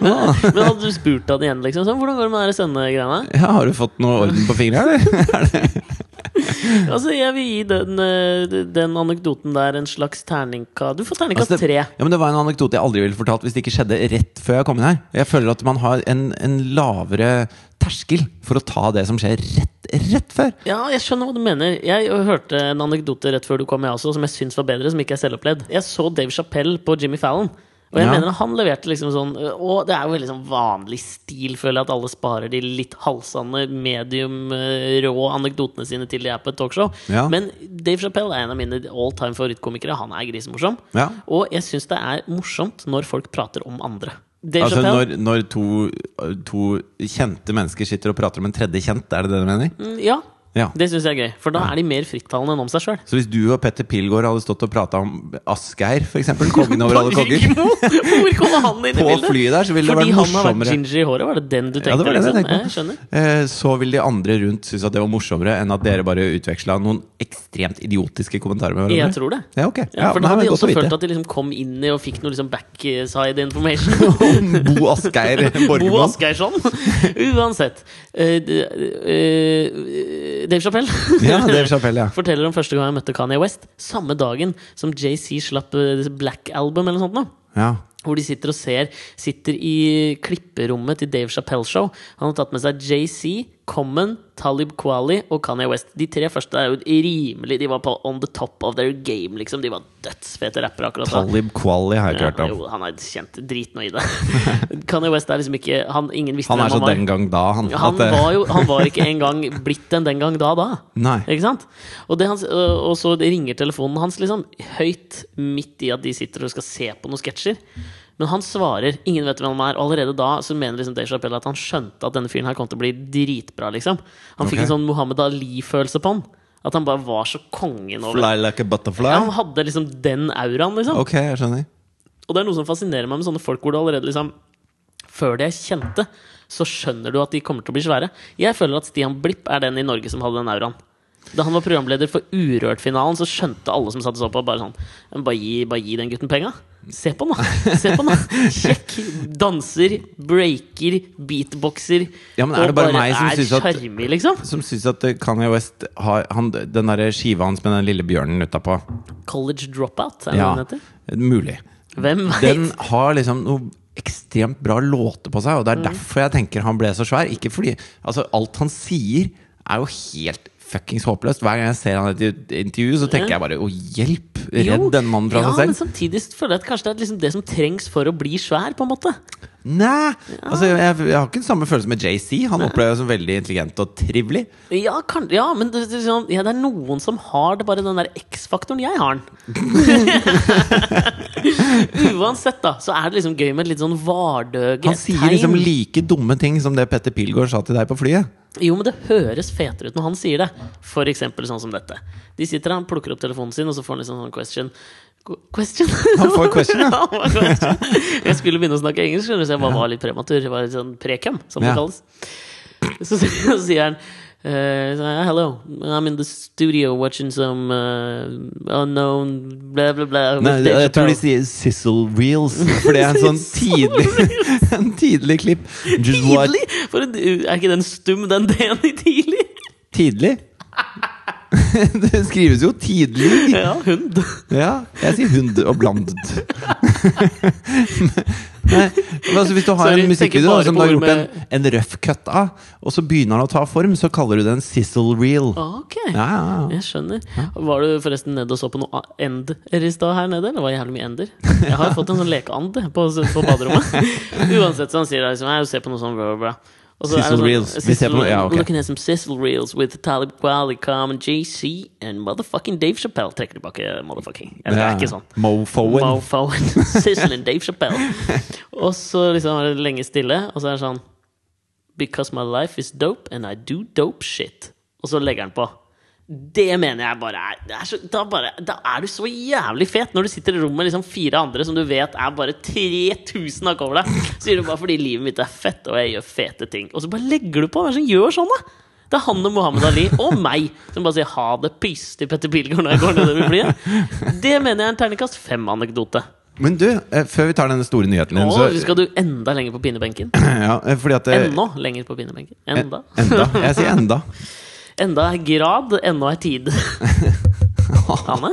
Speaker 2: Men hadde du spurt han igjen, liksom? Sånn, hvordan går det med de sendegreiene?
Speaker 1: Ja, har du fått noe orden på fingra, eller?
Speaker 2: Altså, jeg vil gi den, eh, den anekdoten der en slags terningkast Du får terningkast
Speaker 1: Altså, det,
Speaker 2: tre.
Speaker 1: ja, men det var en anekdote jeg aldri ville fortalt hvis det ikke skjedde rett før jeg kom inn her. Jeg føler at man har en, en lavere terskel for å ta det som skjer rett, rett før.
Speaker 2: Ja, jeg skjønner hva du mener. Jeg hørte en anekdote rett før du kom, jeg også, som jeg syns var bedre, som ikke er selvopplevd. Jeg så Dave Chappelle på Jimmy Fallon. Og jeg
Speaker 1: Ja.
Speaker 2: mener at han leverte liksom sånn Og det er jo veldig sånn vanlig stil, føler jeg, at alle sparer de litt halvsanne, medium eh, rå anekdotene sine til de er på et talkshow.
Speaker 1: Ja.
Speaker 2: Men Dave Chappelle er en av mine all time favorittkomikere. Han er grisemorsom.
Speaker 1: Ja.
Speaker 2: Og jeg syns det er morsomt når folk prater om andre. Dave
Speaker 1: Altså
Speaker 2: Chappelle
Speaker 1: når, når to, to kjente mennesker sitter og prater om en tredje kjent, er det det du mener?
Speaker 2: Mm, Ja.
Speaker 1: Ja.
Speaker 2: Det syns jeg er gøy. For da er de mer frittalende enn om seg sjøl.
Speaker 1: Så hvis du og Petter Pilgaard hadde stått og prata om Asgeir, f.eks., kongen over alle konger,
Speaker 2: Rigmor? Hvor kommer han inn i
Speaker 1: på
Speaker 2: bildet?
Speaker 1: flyet der, så ville det
Speaker 2: Fordi
Speaker 1: vært
Speaker 2: han har vært
Speaker 1: morsommere.
Speaker 2: ginger i håret, var det den du tenkte?
Speaker 1: Ja, det var det jeg
Speaker 2: liksom?
Speaker 1: tenkte på.
Speaker 2: Jeg skjønner.
Speaker 1: Eh, Så vil de andre rundt synes at det var morsommere enn at dere bare utveksla noen ekstremt idiotiske kommentarer med
Speaker 2: Jeg
Speaker 1: hverandre.
Speaker 2: tror det.
Speaker 1: Ja, ok.
Speaker 2: Ja, for da
Speaker 1: men
Speaker 2: hadde
Speaker 1: det
Speaker 2: de
Speaker 1: er godt
Speaker 2: også
Speaker 1: å vite.
Speaker 2: følt at de liksom kom inn i og fikk noe liksom backside information.
Speaker 1: Bo Asgeir
Speaker 2: Bo
Speaker 1: Borgermoen.
Speaker 2: Asgeirsson! Uansett. Eh, d- eh, Dave Chappelle.
Speaker 1: Ja, Dave Chappelle, ja.
Speaker 2: Forteller om første gang jeg møtte Kanye West. Samme dagen som JC slapp eh, Black Album eller noe sånt. nå.
Speaker 1: ja.
Speaker 2: Hvor de sitter og ser Sitter i klipperommet til Dave Chappelle Show. Han har tatt med seg JC, Common, Talib Kweli og Kanye West. De tre første er jo rimelig De var på on the top of their game, liksom. De var dødsfete rappere akkurat da.
Speaker 1: Talib Kwali har jeg ikke hørt
Speaker 2: Ja,
Speaker 1: om.
Speaker 2: jo, han er kjent. Drit nå i det. Kanye West er liksom ikke han, Ingen visste
Speaker 1: Han
Speaker 2: hvem
Speaker 1: er så
Speaker 2: han var.
Speaker 1: den gang da, han.
Speaker 2: Han
Speaker 1: at, eh,
Speaker 2: var jo Han var ikke engang blitt en den gang da, da.
Speaker 1: Nei.
Speaker 2: Ikke sant? Og, det hans, øh, og så ringer telefonen hans liksom høyt midt i at de sitter og skal se på noen sketsjer. Men han svarer. Ingen vet hvem han er. Og allerede da så mener liksom Dave Chappelle at han skjønte at denne fyren her kom til å bli dritbra, liksom. Han
Speaker 1: Ok.
Speaker 2: fikk en sånn Mohammed Ali-følelse på han. At han bare var så kongen over
Speaker 1: Fly like a butterfly.
Speaker 2: ja, Han hadde liksom den auraen, liksom.
Speaker 1: Ok, jeg skjønner.
Speaker 2: Og det er noe som fascinerer meg med sånne folk hvor du allerede liksom Før de er kjente, så skjønner du at de kommer til å bli svære. Jeg føler at Stian Blipp er den i Norge som hadde den auraen. Da han var programleder for Urørt-finalen, så skjønte alle som satt og så på, bare sånn «Men Bare gi, bare gi den gutten penga. Se på han, da! Se på han, da! Kjekk! Danser, breaker, beatboxer.
Speaker 1: Ja, men er
Speaker 2: og
Speaker 1: det bare meg som
Speaker 2: er
Speaker 1: synes at-
Speaker 2: charmig, liksom?
Speaker 1: Som syns at eh, Kanye West har han, den derre skiva hans med den lille bjørnen utapå.
Speaker 2: College dropout, er det
Speaker 1: Ja,
Speaker 2: den heter?
Speaker 1: mulig.
Speaker 2: Hvem veit?
Speaker 1: Den har liksom noe ekstremt bra låter på seg, og det
Speaker 2: Mm.
Speaker 1: er derfor jeg tenker han ble så svær. Ikke fordi Altså, alt han sier, er jo helt fuckings håpløst. Hver gang jeg ser han i et intervju, så tenker jeg bare å, hjelp! Redd
Speaker 2: Jo,
Speaker 1: den mannen fra
Speaker 2: ja, altså.
Speaker 1: seg
Speaker 2: Men
Speaker 1: selv.
Speaker 2: samtidig føler jeg at kanskje det er liksom det som trengs for å bli svær, på en måte.
Speaker 1: Nei! Altså, jeg, jeg har ikke den samme følelsen med JC. Han opplever jeg som veldig intelligent og trivelig.
Speaker 2: Ja, kan, ja men det, det, sånn- ja, det er noen som har det bare den der X-faktoren. Jeg har den. Uansett, da, så er det liksom gøy med et litt sånn vardøge
Speaker 1: Han sier liksom like dumme ting som det Petter Pilgaard sa til deg på flyet.
Speaker 2: Jo, men det høres fetere ut når han sier det. For eksempel sånn som dette. De sitter der, han plukker opp telefonen sin, og så får han liksom sånn question. Qu- Question?
Speaker 1: Han får question, ja.
Speaker 2: Han får question. Jeg skulle begynne å snakke engelsk, skjønner du, så jeg bare var litt prematur. Jeg var litt sånn prekem, som det
Speaker 1: Ja.
Speaker 2: kalles. Så, sier- så sier han eh, så, sier jeg, Hello, I'm in the studio watching some uh, unknown blah, blah, blah. with
Speaker 1: Nei,
Speaker 2: Dave
Speaker 1: jeg tror de
Speaker 2: Chappelle."
Speaker 1: sier 'sizzle reels', for det er en sånn tidlig En tidlig klipp. Just what-
Speaker 2: Tidlig! For en, er ikke den stum, den D-en i tidlig?
Speaker 1: Tidlig? Det skrives jo 'tidlig'.
Speaker 2: Ja, hund.
Speaker 1: Ja, jeg sier 'hund' og blandet. Nei, men altså Hvis du har en
Speaker 2: Sorry, tenker
Speaker 1: musikkvideo
Speaker 2: bare
Speaker 1: da, som du
Speaker 2: på
Speaker 1: har
Speaker 2: ord
Speaker 1: gjort en, en røff cut av, og så begynner den å ta form, så kaller du det en 'sizzle reel'.
Speaker 2: Ah, Ok.
Speaker 1: Ja, ja, ja.
Speaker 2: Jeg skjønner. Var du forresten nede og så på noe a- ender i stad her nede? Eller var det jævlig mye ender? Jeg har fått en sånn lekeand på, på baderommet. Uansett, så han sier liksom, jeg ser på noe sånn bla, bla, bla. Og så er det sånn,
Speaker 1: Sizzle reels. Vi ser på noe- ja, ok.
Speaker 2: Looking at some sizzle reels with Talib Kweli, Common JC and motherfucking Dave Chappelle. Trekker tilbake motherfucking. Jeg, det er ikke sånn.
Speaker 1: Mofoen.
Speaker 2: Mofoen. Sizzle and Dave Chappelle. Og så liksom er det lenge stille, og så er det sånn Because my life is dope, and I do dope shit. Og så legger han på. Det mener jeg bare er, det er så, da, bare, da er du så jævlig fet når du sitter i rom med liksom fire andre som du vet er bare 3000 hakk over deg. Så sier du bare fordi livet mitt er fett, og jeg gjør fete ting. Og så bare legger du på. Hvem er det som gjør sånn, da? Det er han og Mohammed Ali, og meg, som bare sier 'ha det pys' til Petter Pilgaard når jeg går nedover flyet. Det mener jeg er en terningkast fem-anekdote.
Speaker 1: Men du, eh, før vi tar den store nyheten din,
Speaker 2: Nå
Speaker 1: så
Speaker 2: skal du enda lenger på pinebenken.
Speaker 1: ja, eh, Fordi at det-
Speaker 2: Ennå lenger på pinebenken. Enda.
Speaker 1: Enda. Jeg sier enda.
Speaker 2: Enda er grad, ennå er tid. Anne?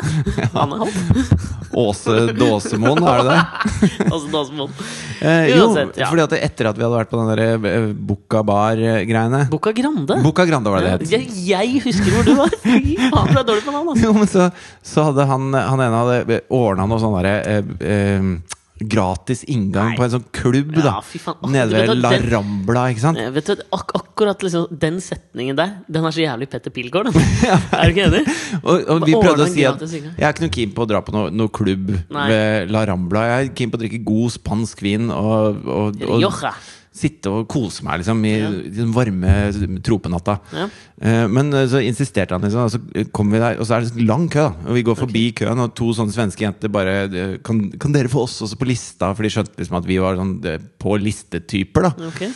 Speaker 2: Anne Holt?
Speaker 1: Åse Dåsemoen, er det det?
Speaker 2: Altså Dasmoen.
Speaker 1: Eh, jo,
Speaker 2: Uansett, ja.
Speaker 1: fordi at det- etter at vi hadde vært på den der eh, Bocca Bar-greiene
Speaker 2: Boca Grande.
Speaker 1: Bocca Grande var det det het.
Speaker 2: Jeg, jeg husker hvor du var! Fy faen, du er dårlig på navn, altså.
Speaker 1: Jo, men så, så hadde han, han ene hadde ordna noe sånn derre eh, eh, Gratis inngang
Speaker 2: Nei.
Speaker 1: på en sånn klubb, da.
Speaker 2: Ja, fy faen. Åh,
Speaker 1: Nede
Speaker 2: du vet
Speaker 1: ved
Speaker 2: at
Speaker 1: La
Speaker 2: den-
Speaker 1: Rambla, ikke sant?
Speaker 2: Eh, Vet du, ak akkurat liksom, Den setningen der, den er så jævlig Petter Pilgaard. den. Er du ikke enig?
Speaker 1: Og, og vi
Speaker 2: Ordne
Speaker 1: prøvde å
Speaker 2: en
Speaker 1: si at
Speaker 2: gratis inngang.
Speaker 1: jeg er ikke noe keen på å dra på noe, noe klubb
Speaker 2: Nei.
Speaker 1: ved La Rambla. Jeg er keen på å drikke god spansk vin og, og, og
Speaker 2: Rioja.
Speaker 1: sitte og kose meg liksom, i i den varme tropenatta.
Speaker 2: Ja.
Speaker 1: Eh, Men eh, så insisterte han, liksom, og så kom vi der, og så er det sånn lang kø. da. Og vi går forbi køen, og to sånne svenske jenter bare eh, kan, kan dere få oss også på lista? For de skjønte liksom at vi var sånn eh, på listetyper, da.
Speaker 2: Ok.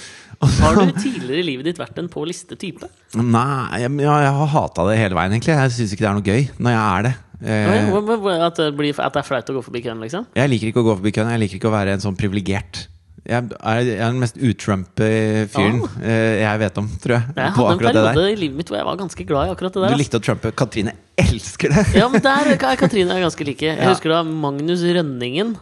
Speaker 1: Og så-
Speaker 2: Har du tidligere i livet ditt vært en på liste-type?
Speaker 1: Nei, jeg, ja, jeg har hata det hele veien, egentlig. Jeg syns ikke det er noe gøy når jeg er det. Eh,
Speaker 2: Hva- hva- hva- At, det blir- at det er flaut å gå forbi køen, liksom?
Speaker 1: Jeg liker ikke å gå forbi køen. Jeg liker ikke å være en sånn privilegert. Jeg er, jeg er den mest utrumpe fyren
Speaker 2: Ah.
Speaker 1: eh, jeg vet om, tror jeg.
Speaker 2: Jeg
Speaker 1: på
Speaker 2: hadde en
Speaker 1: akkurat det der.
Speaker 2: periode i livet mitt hvor jeg var ganske glad i akkurat det der. altså.
Speaker 1: Du
Speaker 2: ass.
Speaker 1: likte å trumpe. Katrine elsker det!
Speaker 2: Ja, men der er Katrine er ganske like. Jeg
Speaker 1: Ja.
Speaker 2: husker da Magnus Rønningen.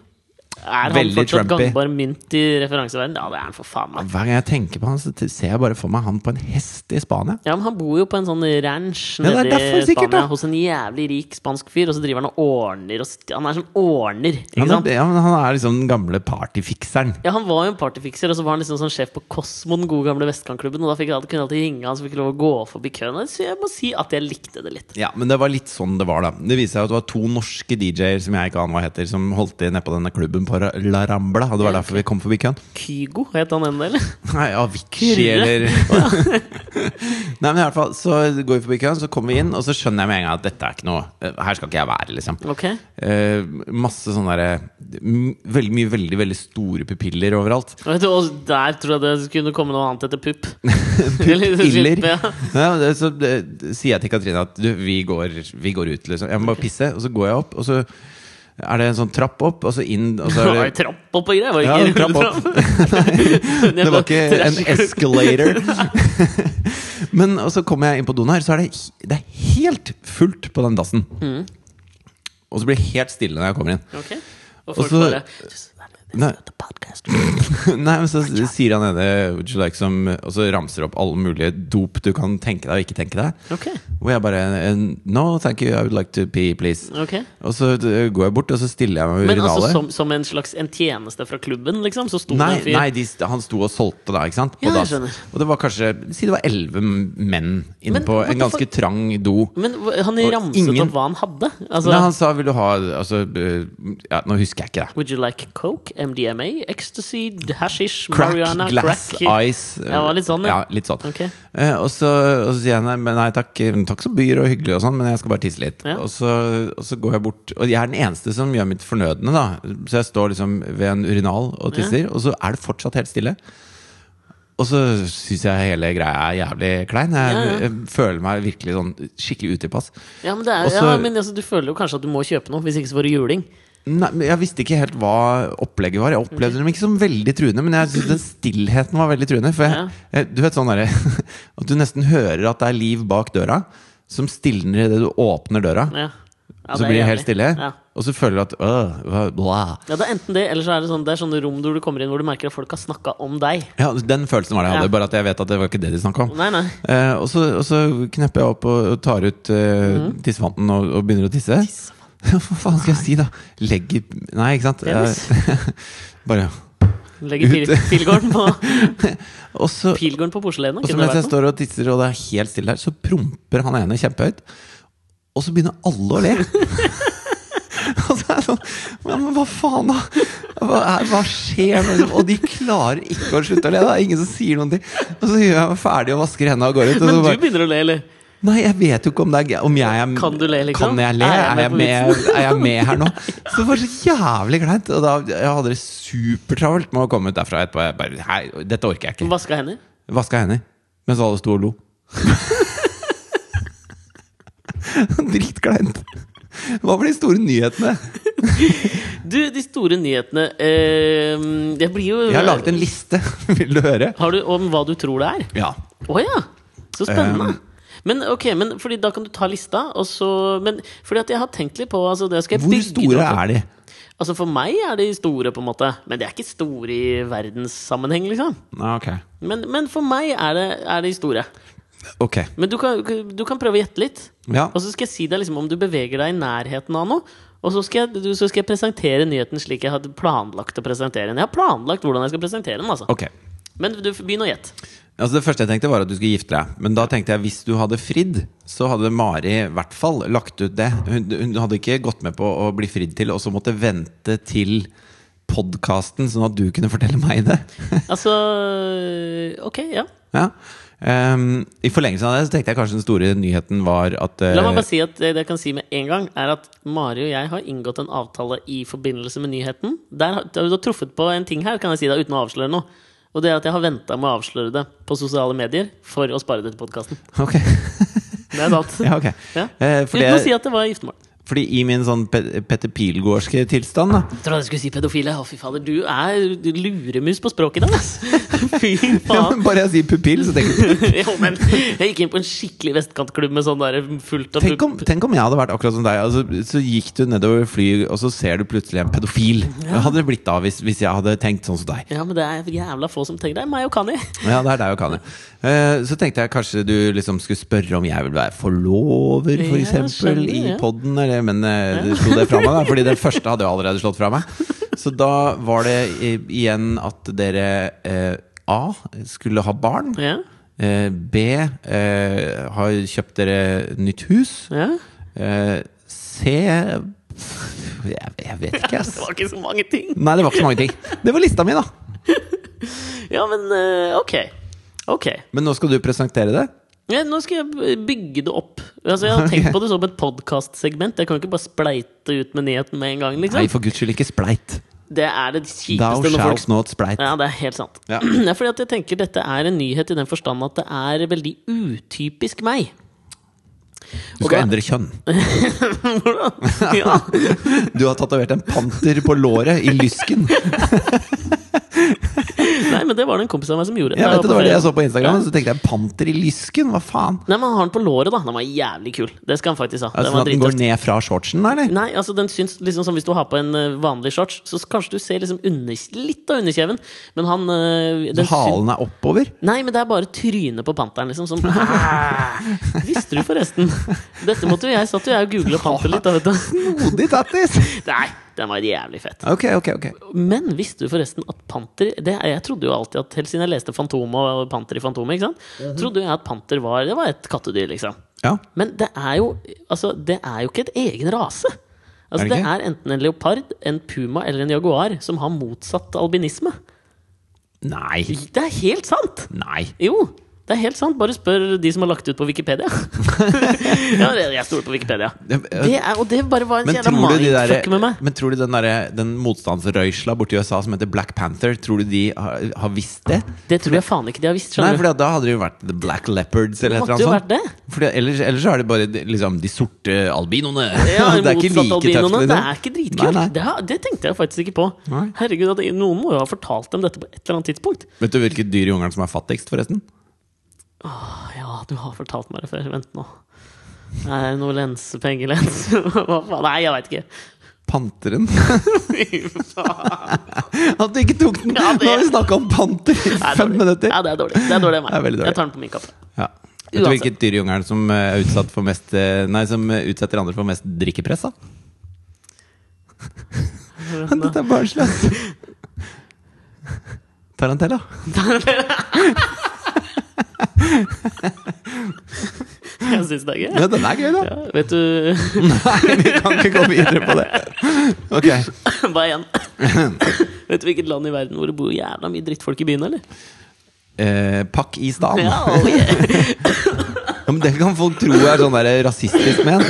Speaker 2: Er han
Speaker 1: Veldig
Speaker 2: fortsatt
Speaker 1: Trumpy.
Speaker 2: gangbar mynt i referanseverden? Ja, det er han for faen meg.
Speaker 1: Hver gang jeg tenker på han, så t- ser jeg bare for meg han på en hest i Spania.
Speaker 2: Ja, men Han bor jo på en sånn ranch
Speaker 1: Ja, det er
Speaker 2: nede
Speaker 1: derfor
Speaker 2: i
Speaker 1: sikkert,
Speaker 2: Spania
Speaker 1: da.
Speaker 2: hos en jævlig rik spansk fyr, og så driver han og ordner og st- Han er sånn ordner, ikke
Speaker 1: Han
Speaker 2: sant?
Speaker 1: er, ja, men han er liksom den gamle partyfikseren.
Speaker 2: Ja, Han var jo en partyfikser, og så var han liksom sånn sjef på Kosmo, den gode gamle vestkantklubben, og da fikk jeg alltid, kunne jeg alltid ringe han, så fikk jeg lov å gå forbi køen. Så jeg må si at jeg likte det litt.
Speaker 1: Ja, men det var litt sånn det var, da. Det viser seg at det var to norske DJ-er som jeg ikke aner hva heter, som holdt til nede på denne klubben på Ra- La Rambla. Og det var derfor vi kom forbi køen.
Speaker 2: Kygo het han ennå, eller?
Speaker 1: Nei, Avicii
Speaker 2: Kyrre.
Speaker 1: eller Nei, men i hvert fall Så går vi forbi køen, så kommer vi inn, og så skjønner jeg med en gang at dette er ikke noe eh, Her skal ikke jeg være, liksom.
Speaker 2: Ok.
Speaker 1: Eh, masse sånne derre m- Veldig mye veldig veldig store pupiller overalt.
Speaker 2: Vet du, og der tror jeg det kunne komme noe annet etter pupp.
Speaker 1: Pupiller.
Speaker 2: Ja.
Speaker 1: Ja, det- så det, sier jeg til Katrine at du, vi går, vi går ut, liksom. Jeg må bare pisse, og så går jeg opp, og så er det en sånn trapp opp, og så inn, og så
Speaker 2: Det var
Speaker 1: er
Speaker 2: jo
Speaker 1: det
Speaker 2: trapp opp og greier. Var det
Speaker 1: Ja,
Speaker 2: ikke
Speaker 1: en trapp opp. Det var ikke en escalator. Men og så kommer jeg inn på doen her, så er det, det er helt fullt på den dassen. Og så blir det helt stille når jeg kommer inn.
Speaker 2: Ok. Og
Speaker 1: Og
Speaker 2: folk
Speaker 1: så-
Speaker 2: bare "Jøss, det er-
Speaker 1: Nei.
Speaker 2: The podcast.
Speaker 1: Nei, men så sier han ene Would you like some Og så ramser opp alle mulige dop du kan tenke deg og ikke tenke deg.
Speaker 2: Ok.
Speaker 1: Hvor jeg bare eh, No, thank you, I would like to pee, please.
Speaker 2: ok.
Speaker 1: Og så eh, går jeg bort, og så stiller jeg meg ved
Speaker 2: Men altså
Speaker 1: urinalet.
Speaker 2: som, som en slags en tjeneste fra klubben, liksom? Så sto det
Speaker 1: Nei,
Speaker 2: en fyr
Speaker 1: nei de, st- han sto og solgte da, ikke sant?
Speaker 2: Ja,
Speaker 1: da,
Speaker 2: jeg skjønner.
Speaker 1: og det var kanskje Si det var elleve menn inne
Speaker 2: Men
Speaker 1: på
Speaker 2: what
Speaker 1: en
Speaker 2: the
Speaker 1: ganske
Speaker 2: fuck?
Speaker 1: trang do.
Speaker 2: Men hva- han
Speaker 1: Og
Speaker 2: ramset
Speaker 1: ingen-
Speaker 2: opp hva han hadde? Altså,
Speaker 1: Nei, han sa 'vil du ha altså, eh, ja, Nå husker jeg ikke det.
Speaker 2: Would you like coke, MDMA, ecstasy, hashish,
Speaker 1: Crack,
Speaker 2: marihuana,
Speaker 1: glass,
Speaker 2: crack
Speaker 1: ice. eh,
Speaker 2: Ja, det var litt sånn,
Speaker 1: ja.
Speaker 2: ja.
Speaker 1: litt sånn.
Speaker 2: Ok.
Speaker 1: Eh, og, så, og så sier jeg nei, men nei takk, eh, takk som byr og hyggelig og sånn, men jeg skal bare tisse litt.
Speaker 2: Ja.
Speaker 1: Og, så, og så går jeg bort, og jeg er den eneste som gjør mitt fornødne, da. Så jeg står liksom ved en urinal og tisser, og så er det fortsatt helt stille. Og så syns jeg hele greia er jævlig klein. Jeg,
Speaker 2: Ja, ja.
Speaker 1: jeg føler meg virkelig sånn skikkelig utilpass.
Speaker 2: Ja, men, det er,
Speaker 1: Og så-
Speaker 2: ja, men altså, du føler jo kanskje at du må kjøpe noe, hvis ikke så får du juling.
Speaker 1: Nei, men Jeg visste ikke helt hva opplegget var. Jeg opplevde dem ikke som veldig truende, men jeg synes den stillheten var veldig truende. For jeg, jeg, du vet sånn derre At du nesten hører at det er liv bak døra, som stilner idet du åpner døra.
Speaker 2: Ja. Ja,
Speaker 1: så
Speaker 2: er
Speaker 1: blir det
Speaker 2: jævlig.
Speaker 1: helt stille,
Speaker 2: Ja.
Speaker 1: og så føler du at øh, hva- bla.
Speaker 2: Ja, det er enten det, eller så er det sånn Det er sånne rom hvor du kommer inn hvor du merker at folk har snakka om deg.
Speaker 1: Ja, Den følelsen var det jeg hadde,
Speaker 2: Ja.
Speaker 1: bare at jeg vet at det var ikke det de snakka om.
Speaker 2: Nei, nei.
Speaker 1: Eh, og, så, og så knepper jeg opp og, og tar ut eh, tissevanten og, og begynner å tisse. Hva faen skal jeg si, da? Legger Nei, ikke sant?
Speaker 2: Penis.
Speaker 1: Jeg- bare
Speaker 2: Legger pil, pilgården på
Speaker 1: Og så
Speaker 2: Pilgården på porselenet.
Speaker 1: Og så
Speaker 2: Kunne det
Speaker 1: mens jeg
Speaker 2: vært noe?
Speaker 1: står og tisser, og det er helt stille her, så promper han ene kjempehøyt. Og så begynner alle å le. Og så er jeg sånn Men men hva faen, da? Hva, er, hva skjer nå? liksom? Og de klarer ikke å slutte å le. Det er ingen som sier noen ting. Og så gjør jeg meg ferdig og vasker hendene og går ut. Og
Speaker 2: Men
Speaker 1: så
Speaker 2: du
Speaker 1: bare,
Speaker 2: begynner å le, eller?
Speaker 1: nei, jeg vet jo ikke om, det er, g- om jeg er
Speaker 2: Kan du le, liksom?
Speaker 1: Kan jeg le? Er jeg med, er jeg med her nå? Så det var så jævlig kleint. Og da jeg hadde det supertravelt med å komme ut derfra etterpå. Jeg bare, hei, dette orker jeg ikke.
Speaker 2: Vaska hender?
Speaker 1: Vaska hender mens alle sto og lo. Dritkleint. Hva var de store nyhetene?
Speaker 2: Du, de store nyhetene eh, Det blir jo
Speaker 1: Jeg har laget en liste, vil du høre?
Speaker 2: Har du om hva du tror det er?
Speaker 1: Ja.
Speaker 2: Å ja! Så spennende.
Speaker 1: Um,
Speaker 2: men ok, men fordi da kan du ta lista, og så men, Fordi at jeg har tenkt litt på altså, det skal jeg
Speaker 1: Hvor
Speaker 2: bygge det
Speaker 1: store
Speaker 2: opp.
Speaker 1: er de?
Speaker 2: Altså For meg er de store, på en måte. Men de er ikke store i verdenssammenheng, liksom.
Speaker 1: Ah, ok.
Speaker 2: Men, men for meg er det, er de store.
Speaker 1: Ok.
Speaker 2: Men du kan, du kan prøve å gjette litt.
Speaker 1: Ja.
Speaker 2: Og så skal jeg si deg liksom om du beveger deg i nærheten av noe. Og så skal, jeg, du- så skal jeg presentere nyheten slik jeg hadde planlagt å presentere den. Jeg har planlagt hvordan jeg skal presentere den, altså.
Speaker 1: Ok.
Speaker 2: Men du, begynn å gjette.
Speaker 1: Altså Det første jeg tenkte, var at du skulle gifte deg. Men da tenkte jeg hvis du hadde fridd, så hadde Mari i hvert fall lagt ut det. Hun, hun hadde ikke gått med på å bli fridd til, og så måtte vente til podkasten, sånn at du kunne fortelle meg det.
Speaker 2: Altså Ok, ja.
Speaker 1: Ja. Ehm, I forlengelsen av det så tenkte jeg kanskje den store nyheten var at eh,
Speaker 2: La meg bare si at det det jeg kan si med en gang, er at Mari og jeg har inngått en avtale i forbindelse med nyheten. Der har du har truffet på en ting her, kan jeg si deg, uten å avsløre noe. Og det er at jeg har venta med å avsløre det på sosiale medier for å spare det til podkasten.
Speaker 1: Ok,
Speaker 2: Det er sant.
Speaker 1: ja, ok.
Speaker 2: Ja.
Speaker 1: Eh, fordi,
Speaker 2: Uten å
Speaker 1: jeg-
Speaker 2: si at det var giftermål.
Speaker 1: fordi i min sånn Pe- Petter Pilgaardske tilstand, da
Speaker 2: Jeg trodde jeg skulle si pedofile. Å, fy fader, du er du luremus på språket i dag, ass! Fy
Speaker 1: ja,
Speaker 2: faen.
Speaker 1: men Bare jeg sier pupill, så tenker jeg
Speaker 2: Jo, men jeg gikk inn på en skikkelig vestkantklubb med sånn der fullt av
Speaker 1: tenk om, tenk om jeg hadde vært akkurat som deg. Altså, så gikk du nedover flyet, og så ser du plutselig en pedofil. Hva hadde det blitt da hvis, hvis jeg hadde tenkt sånn som deg?
Speaker 2: Ja, men det er jævla få som tenker det. Meg og Kanye.
Speaker 1: Ja, det er deg og Kanye. Eh, så tenkte jeg kanskje du liksom skulle spørre om jeg vil være forlover, for
Speaker 2: Ja,
Speaker 1: eksempel,
Speaker 2: skjønner,
Speaker 1: i
Speaker 2: ja.
Speaker 1: podden, eller, men eh, du slo det fra meg, da, fordi den første hadde jeg allerede slått fra meg. Så da var det eh, igjen at dere eh, A. skulle ha barn.
Speaker 2: Ja,
Speaker 1: Eh, B. Eh, har kjøpt dere nytt hus.
Speaker 2: ja.
Speaker 1: Eh, C. pff, Jeg, jeg vet ikke, ass.
Speaker 2: Det var ikke så mange ting.
Speaker 1: Nei, det var ikke så mange ting. Det var lista mi, da.
Speaker 2: Ja, men eh, ok. Ok.
Speaker 1: Men nå skal du presentere det.
Speaker 2: Ja, nå skal jeg bygge det opp. Altså, jeg har tenkt på det som et podkastsegment. Jeg kan ikke bare spleite ut med nyheten med en gang.
Speaker 1: Nei,
Speaker 2: liksom
Speaker 1: for guds skyld, ikke spleit.
Speaker 2: Det er det
Speaker 1: Thou
Speaker 2: kjipeste når folk
Speaker 1: shalt not spleit.
Speaker 2: Ja, det er helt sant.
Speaker 1: Ja.
Speaker 2: Det er fordi at jeg tenker dette er en nyhet i den forstand at det er veldig utypisk meg.
Speaker 1: Du skal endre kjønn.
Speaker 2: Hvordan? Ja.
Speaker 1: Du har tatovert en panter på låret i lysken.
Speaker 2: Nei, men det var det en kompis av meg som gjorde.
Speaker 1: Jeg
Speaker 2: Da
Speaker 1: vet det, det
Speaker 2: på
Speaker 1: var det
Speaker 2: ferie.
Speaker 1: jeg så på Instagram, så tenkte jeg panter i lysken, hva faen?
Speaker 2: Nei, men han har den på låret, da. Den var jævlig kul. Det skal han faktisk ha.
Speaker 1: Er det
Speaker 2: Den
Speaker 1: sånn
Speaker 2: var
Speaker 1: at den går
Speaker 2: drittøft.
Speaker 1: ned fra shortsen, da, eller?
Speaker 2: Nei, altså den syns liksom som hvis du har på en eh, vanlig shorts, så s- kanskje du ser liksom under, litt av underkjeven, men han eh, den
Speaker 1: Så halen er oppover?
Speaker 2: syn- Nei, men det er bare trynet på panteren, liksom. Som Ah! Visste du forresten? Dette måtte jo jeg satt jo jeg og googla panter litt, da, vet du.
Speaker 1: Modig tattis!
Speaker 2: Nei, den var jævlig fett.
Speaker 1: Ok, ok, ok.
Speaker 2: Men visste du forresten at panter det, er- Jeg trodde jo alltid at Helt siden jeg leste Fantomet og Panter i Fantomet, ikke sant?
Speaker 1: Mhm.
Speaker 2: Trodde jo jeg at panter var Det var et kattedyr, liksom.
Speaker 1: Ja.
Speaker 2: Men det er jo, altså, det er jo ikke et egen rase. Altså,
Speaker 1: Er det
Speaker 2: det,
Speaker 1: ikke?
Speaker 2: er enten en leopard, en puma eller en jaguar som har motsatt albinisme.
Speaker 1: Nei.
Speaker 2: Det er helt sant!
Speaker 1: Nei.
Speaker 2: Jo, det er helt sant. Bare spør de som har lagt ut på Wikipedia. ja, det- jeg stoler på Wikipedia. Det er, og det bare var en
Speaker 1: Men
Speaker 2: jævla
Speaker 1: tror, du de
Speaker 2: mindfuck med
Speaker 1: der,
Speaker 2: meg.
Speaker 1: men tror du den, der, den motstandsrøysla borti USA som heter Black Panther, tror du de har, har visst det?
Speaker 2: Det tror jeg faen ikke de har visst.
Speaker 1: Nei,
Speaker 2: skjønner du?
Speaker 1: for da hadde det jo vært The Black Leopards eller et
Speaker 2: Måtte
Speaker 1: eller annet
Speaker 2: jo
Speaker 1: sånn-
Speaker 2: vært
Speaker 1: sånt.
Speaker 2: det.
Speaker 1: Fordi ellers, ellers så er det bare de- liksom, de sorte albinoene.
Speaker 2: Ja,
Speaker 1: det er ikke
Speaker 2: motsatt
Speaker 1: like tøft.
Speaker 2: albinoene.
Speaker 1: liksom.
Speaker 2: Det er ikke
Speaker 1: Nei,
Speaker 2: dritkult.
Speaker 1: nei.
Speaker 2: Det, har- det tenkte jeg faktisk ikke på.
Speaker 1: Nei.
Speaker 2: Herregud, at Noen må jo ha fortalt dem dette på et eller annet tidspunkt.
Speaker 1: Vet du hvilket dyr i Ungarn som er fattigst, forresten?
Speaker 2: Ah, Ja, du har fortalt meg det før. Vent nå. Er det noe lense, pengelens? Hva faen? Nei, jeg veit ikke.
Speaker 1: Panteren.
Speaker 2: Fy faen.
Speaker 1: At du ikke tok den!
Speaker 2: Ja, det-
Speaker 1: Nå har vi snakka om panter i
Speaker 2: Nei, det er
Speaker 1: fem
Speaker 2: dårlig.
Speaker 1: minutter!
Speaker 2: Ja, det er dårlig. Det er dårlig av
Speaker 1: Det er
Speaker 2: meg.
Speaker 1: veldig dårlig.
Speaker 2: Jeg tar den på min kappe.
Speaker 1: Ja. Vet du
Speaker 2: Uansett.
Speaker 1: hvilket dyr i Ungarn som eh, er utsatt for mest eh, Nei, som eh, utsetter andre for mest drikkepress, da? Dette er barnslig, ass. Tarantella.
Speaker 2: Jeg syns det er gøy.
Speaker 1: Ja, den er gøy, da.
Speaker 2: Ja, vet du
Speaker 1: Nei, vi kan ikke gå videre på det. Ok.
Speaker 2: Bare igjen. Vet du hvilket land i verden hvor det bor jævla mye drittfolk i byen, eller?
Speaker 1: Eh, pakk i stan.
Speaker 2: Ja,
Speaker 1: Ja.
Speaker 2: oh yeah.
Speaker 1: men det kan folk tro er sånn der rasistisk ment.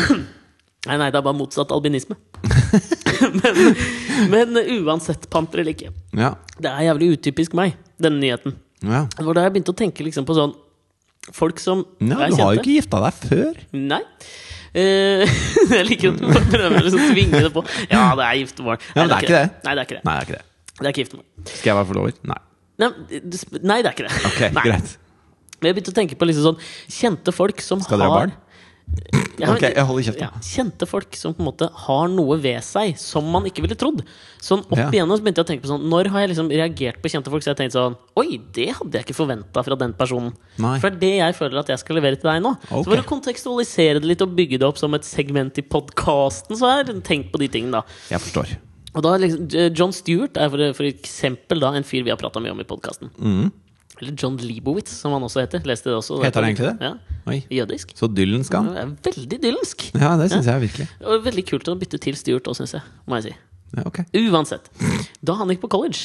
Speaker 2: Nei, nei, det er bare motsatt albinisme. Men, men uansett, panter eller ikke.
Speaker 1: Ja.
Speaker 2: Det er jævlig utypisk meg, denne nyheten.
Speaker 1: ja.
Speaker 2: Det var da jeg begynte å tenke liksom på sånn Folk som
Speaker 1: Nei,
Speaker 2: er
Speaker 1: du har jo
Speaker 2: kjente.
Speaker 1: ikke gifta deg før.
Speaker 2: Nei. Eh, jeg liker at du bare prøver å liksom svinge det på. Ja, det er giftermål.
Speaker 1: Ja, men det er ikke det.
Speaker 2: Nei, det er ikke det.
Speaker 1: Nei, det er ikke det.
Speaker 2: Det er ikke giftermål.
Speaker 1: Skal jeg være forlover? Nei.
Speaker 2: Nei, du sp- nei, det er ikke det.
Speaker 1: Ok,
Speaker 2: nei.
Speaker 1: Greit.
Speaker 2: Men jeg begynte å tenke på liksom sånn kjente folk som
Speaker 1: Skal dere ha
Speaker 2: har
Speaker 1: barn? Ok, jeg holder kjeft, da.
Speaker 2: ja, Kjente folk som på en måte har noe ved seg som man ikke ville trodd. Sånn opp
Speaker 1: Ja.
Speaker 2: igjennom så begynte jeg å tenke på sånn Når har jeg liksom reagert på kjente folk så jeg tenkte sånn Oi, det hadde jeg ikke forventa fra den personen.
Speaker 1: Nei.
Speaker 2: For det er det jeg føler at jeg skal levere til deg nå.
Speaker 1: Ok.
Speaker 2: Så for å kontekstualisere det litt og bygge det opp som et segment i podkasten, så har jeg tenkt på de tingene, da.
Speaker 1: Jeg forstår.
Speaker 2: Og da er liksom, eh, John Stewart er for, for eksempel da, en fyr vi har prata mye om i podkasten. Eller John Leibowitz, som han også heter. Leste det også.
Speaker 1: Mm. Heter han egentlig det?
Speaker 2: Ja.
Speaker 1: Oi.
Speaker 2: Jødisk.
Speaker 1: Så Dylan skal.
Speaker 2: Det er veldig dylansk.
Speaker 1: Ja, det syns jeg virkelig.
Speaker 2: Og veldig kult å bytte til Stewart òg, syns jeg. Må jeg si.
Speaker 1: Ja, ok.
Speaker 2: Uansett. Da han gikk på college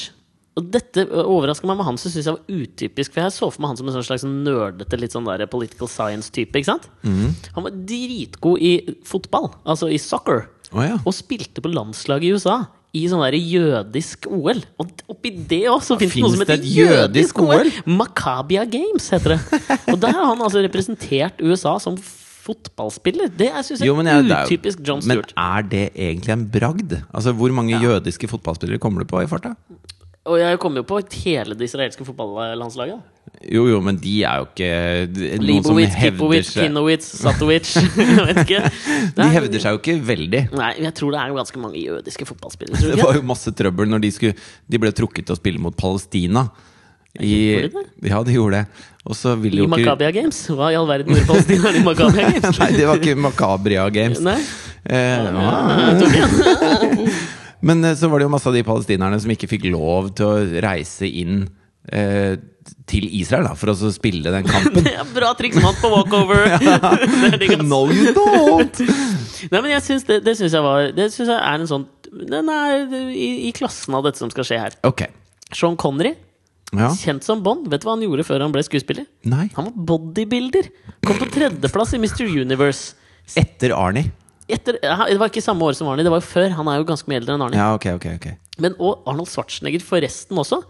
Speaker 2: og dette overraska meg med han, så synes jeg var utypisk. For jeg så for meg han som en sånn slags sånn nerdete litt sånn der political science-type. ikke sant?
Speaker 1: Mhm.
Speaker 2: Han var dritgod i fotball, altså i soccer,
Speaker 1: Å ja.
Speaker 2: og spilte på landslaget i USA. I sånn der jødisk OL. Og oppi det òg, så fins det
Speaker 1: finnes
Speaker 2: noe som
Speaker 1: det
Speaker 2: heter
Speaker 1: et jødisk
Speaker 2: jødisk OL!
Speaker 1: OL?
Speaker 2: Makabia Games heter det. Og der har han altså representert USA som fotballspiller. Det er, synes jeg,
Speaker 1: Jo, men jeg, det er jo-
Speaker 2: utypisk John
Speaker 1: Men
Speaker 2: Stewart.
Speaker 1: er det egentlig en bragd? Altså, Hvor mange jødiske fotballspillere kommer du på i farta?
Speaker 2: Og jeg kom jo på hele det israelske fotballandslaget. da.
Speaker 1: Jo, jo, men de er jo ikke de- noen som
Speaker 2: Leibowitz,
Speaker 1: hevder
Speaker 2: Kipovic,
Speaker 1: seg
Speaker 2: Kinowitz, Satovic Jeg vet ikke.
Speaker 1: De hevder seg jo ikke veldig.
Speaker 2: Nei, jeg tror det er jo ganske mange jødiske fotballspillere.
Speaker 1: Det
Speaker 2: Tror du
Speaker 1: var
Speaker 2: ikke?
Speaker 1: jo masse trøbbel når de skulle De ble trukket til å spille mot Palestina. I,
Speaker 2: Gjorde de
Speaker 1: ja, de gjorde det. Og så ville
Speaker 2: I
Speaker 1: jo ikke
Speaker 2: Makabia Games? Hva i all verden gjorde palestinerne i Makabia Games?
Speaker 1: Nei, det var ikke Makabria Games.
Speaker 2: Nei.
Speaker 1: Eh, ja.
Speaker 2: Jeg tror ikke.
Speaker 1: Men eh, så var det jo masse av de palestinerne som ikke fikk lov til å reise inn eh, til Israel da, for å så spille den kampen.
Speaker 2: Det er Bra triksmann på walkover! Det er digg, ass.
Speaker 1: No, you don't!
Speaker 2: Nei, men jeg synes det, det syns jeg var Det synes jeg er en sånn Den er i, i klassen av dette som skal skje her.
Speaker 1: Ok.
Speaker 2: Sean Connery,
Speaker 1: Ja.
Speaker 2: kjent som Bond, vet du hva han gjorde før han ble skuespiller?
Speaker 1: Nei.
Speaker 2: Han var bodybuilder. Kom på tredjeplass i Mr. Universe.
Speaker 1: Etter Arnie.
Speaker 2: Etter, ja, det var ikke samme år som Arnie, det var jo før. Han er jo ganske mye eldre enn Arnie.
Speaker 1: Ja, ok, ok. ok
Speaker 2: Men og Arnold Schwarzenegger forresten også.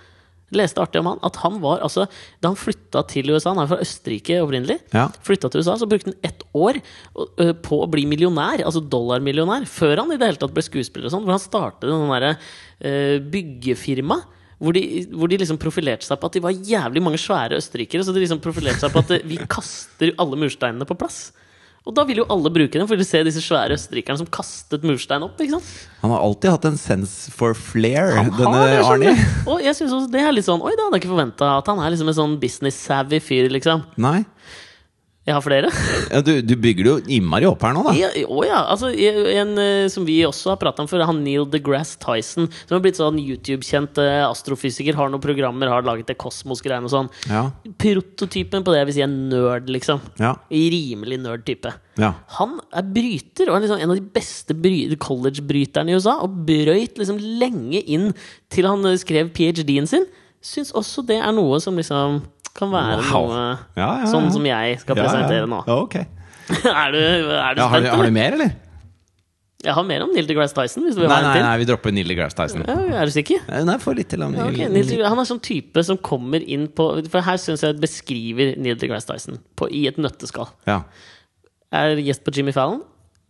Speaker 2: Leste artig om han at han var altså Da han flytta til USA, han er fra Østerrike opprinnelig,
Speaker 1: Ja.
Speaker 2: flytta til USA, så brukte han ett år ø, på å bli millionær, altså dollarmillionær, før han i det hele tatt ble skuespiller og sånn. Hvor han startet en sånn derre ø, byggefirma. Hvor de, hvor de liksom profilerte seg på at de var jævlig mange svære østerrikere. Så de liksom profilerte seg på at eh, vi kaster alle mursteinene på plass. Og da vil jo alle bruke dem, for de ser disse svære østerrikerne som kastet murstein opp. ikke sant?
Speaker 1: Han har alltid hatt en sense for flair,
Speaker 2: Han har
Speaker 1: denne
Speaker 2: det, skjønner
Speaker 1: Arnie.
Speaker 2: du. Og jeg synes også det er litt sånn Oi, det hadde jeg ikke forventa. At han er liksom en sånn business-savvy fyr, liksom.
Speaker 1: Nei.
Speaker 2: Jeg har flere.
Speaker 1: Ja, du, du bygger det jo innmari opp her nå, da.
Speaker 2: Ja, å ja. Altså, en eh, som vi også har prata om før, han Neil deGrasse Tyson. Som har blitt sånn YouTube-kjent eh, astrofysiker, har noen programmer, har laget det kosmos-greiene og sånn.
Speaker 1: Ja.
Speaker 2: Prototypen på det jeg vil si er nerd, liksom.
Speaker 1: Ja.
Speaker 2: Rimelig nerd-type.
Speaker 1: ja.
Speaker 2: Han er bryter, og er liksom en av de beste bry- college-bryterne i USA. Og brøyt liksom lenge inn til han eh, skrev ph.d.-en sin. Syns også det er noe som liksom kan være
Speaker 1: Wow.
Speaker 2: noe
Speaker 1: Ja, ja, ja.
Speaker 2: sånn som jeg skal
Speaker 1: Ja, ja.
Speaker 2: presentere nå.
Speaker 1: Ja, ok.
Speaker 2: er du, er du
Speaker 1: Ja, har,
Speaker 2: spent,
Speaker 1: du, har
Speaker 2: eller?
Speaker 1: du mer, eller?
Speaker 2: Jeg har mer om Neil deGrasse Tyson, hvis du vil
Speaker 1: Nei,
Speaker 2: ha en
Speaker 1: nei,
Speaker 2: til.
Speaker 1: nei vi dropper Neil deGrasse Tyson.
Speaker 2: Ja, er du sikker?
Speaker 1: Nei, få litt til om
Speaker 2: Ja, ok.
Speaker 1: Neil-
Speaker 2: Neil deGrasse- han er sånn type som kommer inn på For her syns jeg det beskriver Neil deGrasse Tyson på, i et nøtteskall.
Speaker 1: Ja.
Speaker 2: Er gjest på Jimmy Fallon,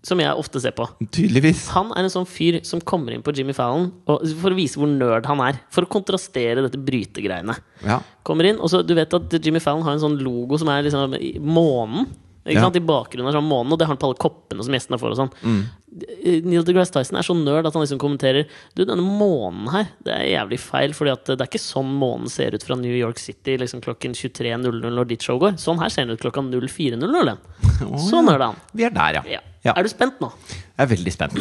Speaker 2: som jeg ofte ser på.
Speaker 1: Tydeligvis.
Speaker 2: Han er en sånn fyr som kommer inn på Jimmy Fallon og, for å vise hvor nerd han er. For å kontrastere dette brytegreiene.
Speaker 1: Ja.
Speaker 2: Kommer inn, og så Du vet at Jimmy Fallon har en sånn logo som er liksom i månen. Ikke
Speaker 1: Ja. Mm.
Speaker 2: sant? I bakgrunnen er sånn månen, og det har han på alle koppene som gjestene får. og sånn Neil deGrasse Tyson er så nerd at han liksom kommenterer Du, denne månen her, det er jævlig feil, Fordi at det er ikke sånn månen ser ut fra New York City liksom klokken 23.00 når ditt show går. Sånn her ser den ut klokka 04.00.
Speaker 1: Å,
Speaker 2: Så nerd er han.
Speaker 1: Vi er der,
Speaker 2: Ja.
Speaker 1: ja. ja.
Speaker 2: Er du spent nå?
Speaker 1: Jeg er veldig spent.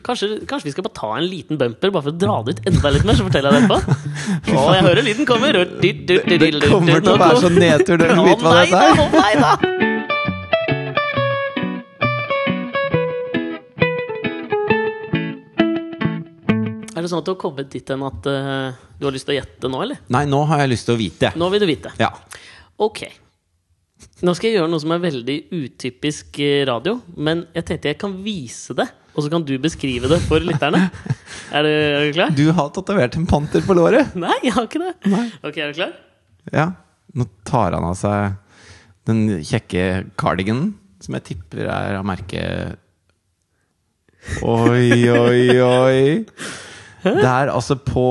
Speaker 2: Kanskje, kanskje vi skal bare ta en liten bumper Bare for å dra det ut enda litt mer, så forteller jeg det etterpå. Å, jeg hører lyden kommer! Og du, du, du,
Speaker 1: Det
Speaker 2: du, du,
Speaker 1: kommer til
Speaker 2: nå
Speaker 1: å være sånn nedtur når du
Speaker 2: Å
Speaker 1: vet hva
Speaker 2: nei
Speaker 1: dette
Speaker 2: da!
Speaker 1: er.
Speaker 2: Å nei da! Er det sånn at du har kommet dit hen at eh, du har lyst til å gjette nå, eller?
Speaker 1: Nei, nå har jeg lyst til å vite.
Speaker 2: Nå vil du vite.
Speaker 1: Ja.
Speaker 2: Ok. Nå skal jeg gjøre noe som er veldig utypisk eh, radio, men jeg tenkte jeg kan vise det, og så kan du beskrive det for lytterne. Er du, er du klar?
Speaker 1: Du har tatovert en panter på låret.
Speaker 2: Nei, jeg har ikke det.
Speaker 1: Nei.
Speaker 2: Ok, er du klar?
Speaker 1: Ja. Nå tar han av seg den kjekke cardiganen, som jeg tipper er av merket Oi, oi, oi. Det er altså på,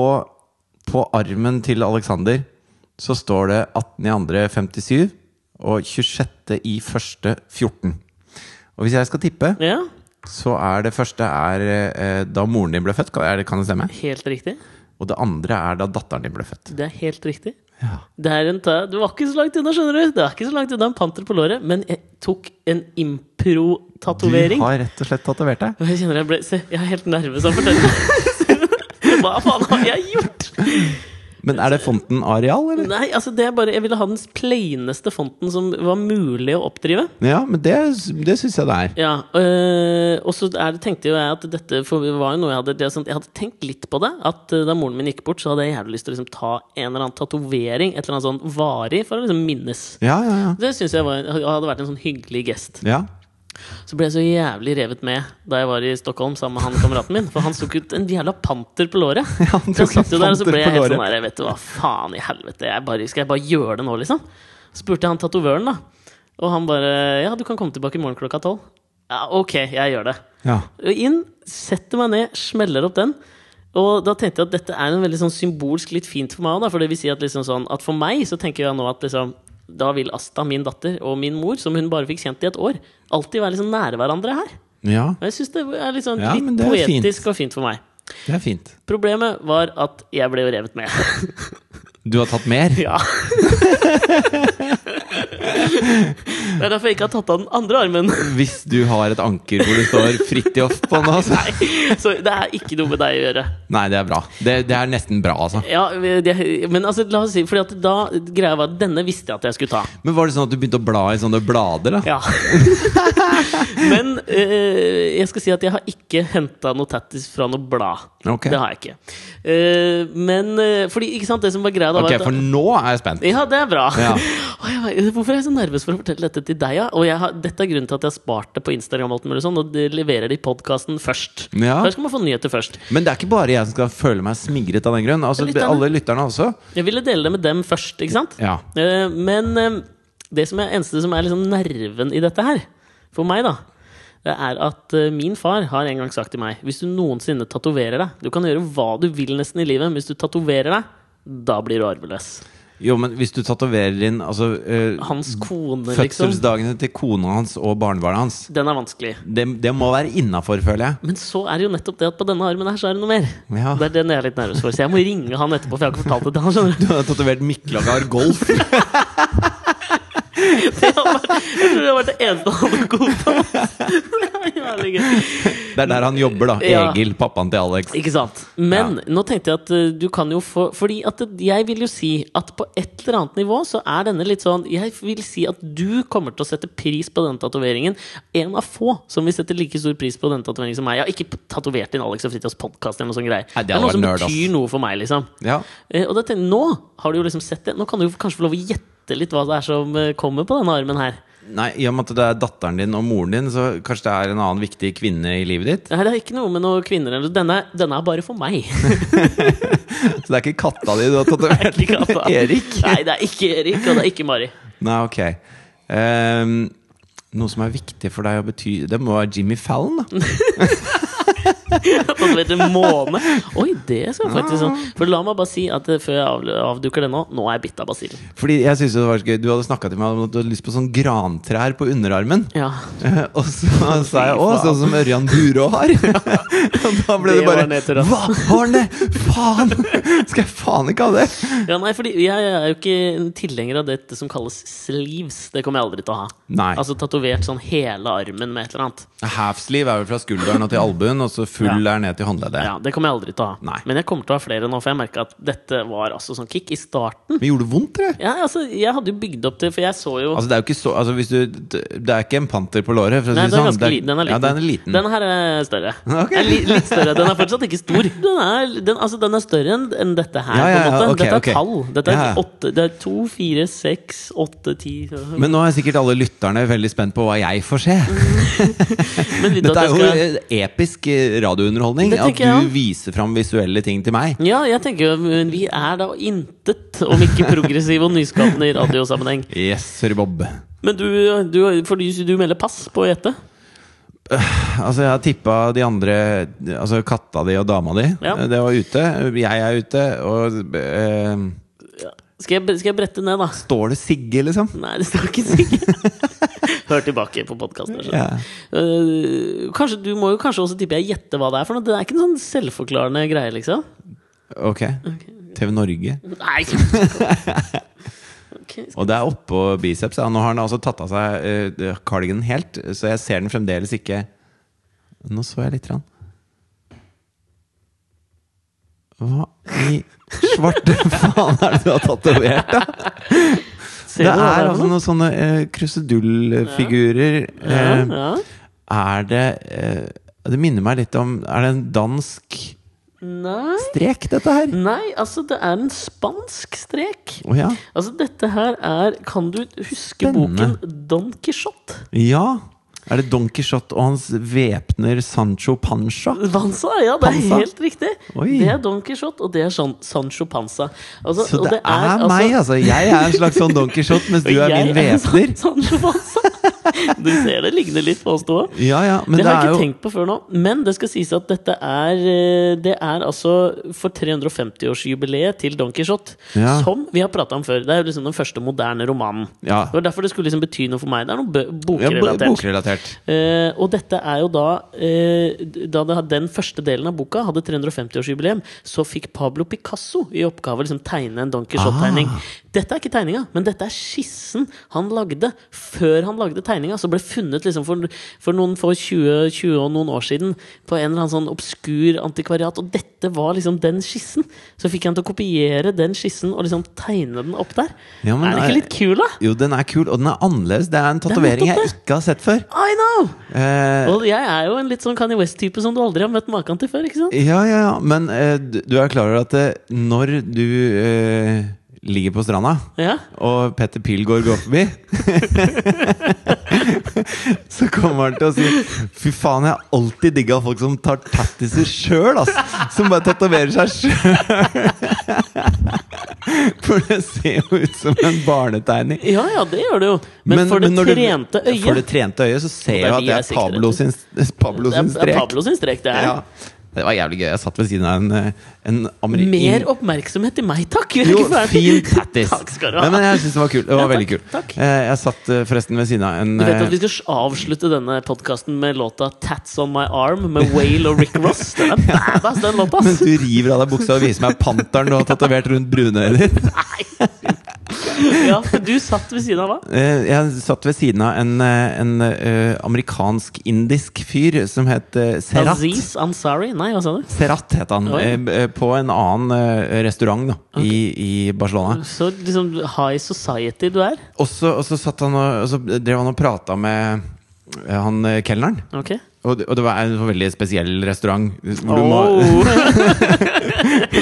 Speaker 1: på armen til Alexander så står det 18.2.57 og 26.1.14. Og hvis jeg skal tippe,
Speaker 2: Ja,
Speaker 1: så er det første er eh, da moren din ble født. Kan, er det, kan det stemme?
Speaker 2: helt riktig.
Speaker 1: Og det andre er da datteren din ble født.
Speaker 2: Det er helt riktig.
Speaker 1: Ja.
Speaker 2: Det er en ta du var ikke så langt unna, skjønner du. Det er ikke så langt unna en panter på låret, men jeg tok en
Speaker 1: Du
Speaker 2: impro-tatovering.
Speaker 1: har rett og slett tatovert deg.
Speaker 2: Og Jeg kjenner jeg ble Se, jeg er helt nervøs av å fortelle. Hva faen har jeg gjort?
Speaker 1: Men er det fonten Arial, eller?
Speaker 2: Nei, altså det er bare Jeg ville ha den plaineste fonten som var mulig å oppdrive.
Speaker 1: Ja, men det, det syns jeg det er.
Speaker 2: Ja, øh, Og så er det, tenkte jo jeg at dette for det var jo noe jeg hadde det er sånn, Jeg hadde tenkt litt på det. At øh, da moren min gikk bort, så hadde jeg jævlig lyst til å liksom ta en eller annen tatovering. Et eller annet sånn varig, for å liksom minnes.
Speaker 1: Ja, ja, ja.
Speaker 2: Det syns jeg var, hadde vært en sånn hyggelig gest.
Speaker 1: ja.
Speaker 2: Så ble jeg så jævlig revet med da jeg var i Stockholm sammen med han kameraten min. For han tok ut en jævla panter på låret.
Speaker 1: Ja, han
Speaker 2: Så jeg
Speaker 1: tok en
Speaker 2: satt jo der, og så
Speaker 1: panter
Speaker 2: ble
Speaker 1: på
Speaker 2: jeg helt
Speaker 1: låret.
Speaker 2: sånn der, vet du hva, faen i helvete, jeg bare, skal jeg bare gjøre det nå, liksom? Så spurte jeg han tatovøren, da. Og han bare, ja, du kan komme tilbake i morgen klokka tolv. Ja, ok, jeg gjør det.
Speaker 1: ja.
Speaker 2: Og inn, setter meg ned, smeller opp den. Og da tenkte jeg at dette er en veldig sånn symbolsk litt fint for meg også, da. For det vil si at, liksom sånn, at for meg så tenker jeg nå at liksom da vil Asta, min datter, og min mor, som hun bare fikk kjent i et år, alltid være liksom nære hverandre her.
Speaker 1: Ja,
Speaker 2: Og jeg syns det er litt sånn
Speaker 1: Ja, men
Speaker 2: litt
Speaker 1: det er fint.
Speaker 2: poetisk og fint for meg.
Speaker 1: det er fint.
Speaker 2: Problemet var at jeg ble jo revet med.
Speaker 1: Du har tatt mer?
Speaker 2: Ja. Det er derfor jeg ikke har tatt av den andre armen.
Speaker 1: Hvis du har et anker hvor det står 'Fridtjof' på nå, så
Speaker 2: Nei, så det er ikke noe med deg å gjøre.
Speaker 1: Nei, det er bra. Det, det er nesten bra, altså.
Speaker 2: Ja, det, men altså, la oss si Fordi at da greia var at denne visste jeg at jeg skulle ta.
Speaker 1: Men var det sånn at du begynte å bla i sånne blader, da?
Speaker 2: Ja. Men eh, jeg skal si at jeg har ikke henta noe tattis fra noe blad.
Speaker 1: Ok.
Speaker 2: Det har jeg ikke. Eh, men eh, fordi, ikke sant, det som var greia da,
Speaker 1: Ok,
Speaker 2: var at
Speaker 1: for nå er jeg spent.
Speaker 2: Ja, det er bra.
Speaker 1: Ja.
Speaker 2: Å, jeg var- hvorfor er jeg så nervøs for å fortelle dette til deg? Ja? Og jeg har, dette er grunnen til at jeg har spart det på Instagram, og alt mulig sånn, og det leverer det i podkasten først.
Speaker 1: Ja.
Speaker 2: Der skal man få nyheter først.
Speaker 1: Men det er ikke bare jeg som skal føle meg smigret av den grunn. Altså,
Speaker 2: Lytterne.
Speaker 1: alle lytterne også.
Speaker 2: Jeg ville dele det med dem først, ikke sant?
Speaker 1: Ja.
Speaker 2: Eh, Men eh, det som er eneste som er liksom nerven i dette her, for meg, da, det er at eh, min far har en gang sagt til meg Hvis du noensinne tatoverer deg Du kan gjøre hva du vil nesten i livet, men hvis du tatoverer deg, da blir du arveløs.
Speaker 1: Jo, men hvis du tatoverer inn altså, eh,
Speaker 2: Hans kone, liksom.
Speaker 1: fødselsdagene til kona hans og barnebarnet hans,
Speaker 2: Den er vanskelig.
Speaker 1: det, det må være innafor, føler jeg.
Speaker 2: Men så er det jo nettopp det at på denne armen her så er det noe mer.
Speaker 1: Ja.
Speaker 2: Det er den jeg er litt nervøs for. Så jeg må ringe han etterpå, for jeg har ikke fortalt det til han. skjønner du?
Speaker 1: Du har tatovert Miklagar Golf.
Speaker 2: Jeg tror det har vært det eneste han hadde godtatt. Det er jævlig gøy.
Speaker 1: Det er der han jobber, da.
Speaker 2: Ja.
Speaker 1: Egil, pappaen til Alex.
Speaker 2: Ikke sant? Men nå tenkte jeg at eh, du kan jo få Fordi at det- jeg vil jo si at på et eller annet nivå så er denne litt sånn Jeg vil si at du kommer til å sette pris på denne tatoveringen. En av få som vil sette like stor pris på denne tatoveringen som meg. Jeg har ikke tatovert inn Alex og Fritjofs podkast eller noe sånt greier.
Speaker 1: Nei, det
Speaker 2: det er
Speaker 1: hadde
Speaker 2: noe
Speaker 1: vært
Speaker 2: som
Speaker 1: nerd, ass.
Speaker 2: betyr noe for meg, liksom.
Speaker 1: Ja.
Speaker 2: Eh, Og dette, nå har du jo liksom sett det. Nå kan du jo kanskje få lov å gjette litt hva det er som eh, kommer på denne armen her.
Speaker 1: Nei, I og med at det er datteren din og moren din, så kanskje det er en annen viktig kvinne i livet ditt?
Speaker 2: Nei, Det er ikke noe med noen kvinner eller Denne, denne er bare for meg.
Speaker 1: Så det er ikke katta di du har
Speaker 2: Det er
Speaker 1: tatovert?
Speaker 2: ikke Kata.
Speaker 1: Erik?
Speaker 2: Nei, det er ikke Erik, og det er ikke Mari.
Speaker 1: Nei, ok. Ehm, noe som er viktig for deg å bety Det må være Jimmy Fallon,
Speaker 2: Mm.
Speaker 1: da.
Speaker 2: Tatovert en måne. Oi, det skal faktisk
Speaker 1: Ah.
Speaker 2: sånn. For la meg bare si at eh, før jeg av- avduker det nå, nå er jeg bitt av basillen.
Speaker 1: Fordi jeg synes jo det var så gøy Du hadde snakka til meg om at du hadde lyst på sånn grantrær på underarmen.
Speaker 2: Ja.
Speaker 1: Eh, Og så sa jeg òg sånn som Ørjan Burå har. Og da ble det,
Speaker 2: Det var nedtur,
Speaker 1: bare
Speaker 2: ass.
Speaker 1: Hva har han det?! Faen! Skal jeg faen ikke ha det?!
Speaker 2: ja, nei, fordi jeg er jo ikke en tilhenger av dette som kalles sleeves. Det kommer jeg aldri til å ha.
Speaker 1: Nei.
Speaker 2: Altså tatovert sånn hele armen med et eller annet.
Speaker 1: Halfsleeve er vel fra skulderen og til albuen, og så full er ned til håndleddet.
Speaker 2: Altså- Ja, Det kommer jeg aldri til å ha.
Speaker 1: Nei.
Speaker 2: Men jeg kommer til å ha flere nå, for jeg merka at dette var altså sånn kick i starten.
Speaker 1: Men gjorde det vondt, eller?
Speaker 2: Ja, altså, Jeg hadde jo bygd opp til For jeg så jo
Speaker 1: Altså, det er jo ikke så altså, hvis du, Det er ikke en panter på låret, for å
Speaker 2: Nei,
Speaker 1: si
Speaker 2: den er
Speaker 1: det sånn.
Speaker 2: ganske
Speaker 1: Det
Speaker 2: liten. Den er liten.
Speaker 1: Ja, den er liten.
Speaker 2: Denne her er større.
Speaker 1: Ok.
Speaker 2: Den er li litt større. Den er fortsatt ikke stor. Den er, den, altså, den er større enn enn dette her.
Speaker 1: Ja, ja,
Speaker 2: på en
Speaker 1: ja,
Speaker 2: måte.
Speaker 1: ok,
Speaker 2: dette er
Speaker 1: ok.
Speaker 2: tall. Dette er,
Speaker 1: Ja.
Speaker 2: åtte, det er to, fire, seks, åtte, ti Men,
Speaker 1: Men nå er sikkert alle lytterne veldig spent på hva jeg får se.
Speaker 2: vil du
Speaker 1: Dette
Speaker 2: at
Speaker 1: er
Speaker 2: jeg
Speaker 1: jo
Speaker 2: skal
Speaker 1: eh, episk eh, radiounderholdning.
Speaker 2: Det
Speaker 1: At
Speaker 2: tenker jeg
Speaker 1: du viser fram visuelle ting til meg.
Speaker 2: Ja, jeg tenker jo men vi er da intet om ikke progressive og nyskapende i radiosammenheng.
Speaker 1: Yes, sir Bob.
Speaker 2: Men du, du, for du, du melder pass på å gjette?
Speaker 1: Altså, jeg har tippa de andre Altså katta di og dama di.
Speaker 2: Ja.
Speaker 1: Eh, Det var ute. Jeg er ute. Og eh,
Speaker 2: Skal jeg, skal jeg brette ned, da?
Speaker 1: Står det Sigge, liksom?
Speaker 2: Nei, det står ikke sikkert. Hør tilbake på podkasten.
Speaker 1: Ja.
Speaker 2: Eh, kanskje du må jo kanskje også tippe jeg gjetter hva det er for noe. Det er ikke en sånn selvforklarende greie, liksom.
Speaker 1: Ok. TV Norge.
Speaker 2: Nei! Ok, skal-
Speaker 1: Og det er oppå biceps. Ja. Nå har han altså tatt av seg uh, cardiganen helt, så jeg ser den fremdeles ikke Nå så jeg litt. Rann. Hva i svarte faen er det du har tatovert, da?
Speaker 2: Ser
Speaker 1: Det
Speaker 2: du hva
Speaker 1: er
Speaker 2: for
Speaker 1: altså
Speaker 2: noe?
Speaker 1: noen sånne eh, krusedullfigurer.
Speaker 2: ja,
Speaker 1: eh,
Speaker 2: ja.
Speaker 1: Er det eh, Det minner meg litt om Er det en dansk
Speaker 2: Nei.
Speaker 1: strek, dette her?
Speaker 2: Nei, altså, det er en spansk strek.
Speaker 1: Å ja.
Speaker 2: Altså, dette her er Kan du huske
Speaker 1: Spennende.
Speaker 2: boken Don Quijote?
Speaker 1: Ja. Er det Don Quijote og hans væpner Sancho Pancha?
Speaker 2: Pansa, ja, det er
Speaker 1: Panza.
Speaker 2: helt riktig.
Speaker 1: Oi.
Speaker 2: Det er Don Quijote, og det er sånn Sancho Panza. Altså,
Speaker 1: Så
Speaker 2: og
Speaker 1: det, er, meg, altså. Jeg er en slags sånn Don Quijote, mens du er
Speaker 2: Jeg
Speaker 1: min
Speaker 2: en
Speaker 1: væpner.
Speaker 2: sånn Sancho Panza. Du ser det ligner litt på oss to.
Speaker 1: Ja, ja, men
Speaker 2: det
Speaker 1: det,
Speaker 2: har jeg
Speaker 1: er
Speaker 2: ikke
Speaker 1: jo
Speaker 2: tenkt på før nå. Men det skal sies at dette er eh, Det er altså for 350-årsjubileet til Don Quijote.
Speaker 1: Ja.
Speaker 2: Som vi har prata om før. Det er jo liksom den første moderne romanen.
Speaker 1: Ja.
Speaker 2: Det var derfor det skulle liksom bety noe for meg. Det er noe bø-
Speaker 1: ja, bo-
Speaker 2: bokrelatert.
Speaker 1: bokrelatert.
Speaker 2: Eh, og dette er jo da eh, Da det, den første delen av boka hadde 350-årsjubileum, så fikk Pablo Picasso i oppgave å liksom, tegne en Don Quijote-tegning.
Speaker 1: Ah.
Speaker 2: Dette er ikke tegninga, men dette er skissen han lagde før han lagde tegninga. Som ble funnet liksom, for, for noen for 20, 20 og noen år siden på en eller annen sånn obskur antikvariat. Og dette var liksom den skissen! Så fikk han til å kopiere den skissen og liksom tegne den opp der.
Speaker 1: Ja, men
Speaker 2: er det
Speaker 1: er-
Speaker 2: ikke litt kul, da?
Speaker 1: Jo, den er kul, og den er annerledes. Det er en tatovering jeg
Speaker 2: nettopp
Speaker 1: ikke har sett før.
Speaker 2: I know!
Speaker 1: Eh,
Speaker 2: Og jeg er jo en litt sånn Kanye West-type som du aldri har møtt maken til før. ikke sant?
Speaker 1: ja, ja, ja, men eh, du du er klar over at eh, når du eh, ligger på stranda
Speaker 2: Ja,
Speaker 1: og Petter Pilgaard går forbi Så kommer han til å si Fy faen, jeg har alltid digga folk som tar tattiser sjøl, ass! Som bare tatoverer seg sjøl! For det ser jo ut som en barnetegning.
Speaker 2: ja, ja det gjør det jo. Men, for det
Speaker 1: når du-
Speaker 2: trente øyet
Speaker 1: For det trente øyet så ser
Speaker 2: det
Speaker 1: jeg jo
Speaker 2: er de
Speaker 1: at det
Speaker 2: jeg
Speaker 1: er
Speaker 2: sikter
Speaker 1: Pablo sin, Pablo
Speaker 2: det er,
Speaker 1: sin
Speaker 2: det er
Speaker 1: strek.
Speaker 2: Pablo sin strek, det er.
Speaker 1: Ja. Det var jævlig gøy. Jeg satt ved siden av en, eh, en ameri-
Speaker 2: Mer oppmerksomhet til meg, takk! Jeg er
Speaker 1: Jo,
Speaker 2: ikke ferdig.
Speaker 1: fin tattis.
Speaker 2: Takk skal du
Speaker 1: Nei,
Speaker 2: ha.
Speaker 1: men jeg syns det var kult. Det var
Speaker 2: Ja,
Speaker 1: veldig
Speaker 2: takk,
Speaker 1: kult.
Speaker 2: takk.
Speaker 1: Eh, Jeg satt eh, forresten ved siden av en
Speaker 2: Du vet at
Speaker 1: eh,
Speaker 2: Vi skal avslutte denne podkasten med låta 'Tats On My Arm' med Whale og Rick Ross. Den er badass, den låta!
Speaker 1: Mens
Speaker 2: ass.
Speaker 1: du river av deg buksa og viser meg panteren du har tatovert rundt brunøyet ditt.
Speaker 2: Ja, for du satt ved siden av hva?
Speaker 1: Eh, Jeg satt ved siden av en, eh, en eh, amerikansk-indisk fyr som het eh, Serat.
Speaker 2: Aziz Ansari? Nei, hva sa du?
Speaker 1: Serat het han.
Speaker 2: Oi.
Speaker 1: eh, b- eh, På en annen eh, restaurant da, i, i Barcelona.
Speaker 2: Så liksom high society du er.
Speaker 1: Og så, og så satt han og, og så drev han og prata med eh, han eh, kelneren.
Speaker 2: Ok.
Speaker 1: Og, det- og det var en veldig spesiell restaurant. Hvor du må,
Speaker 2: Oh.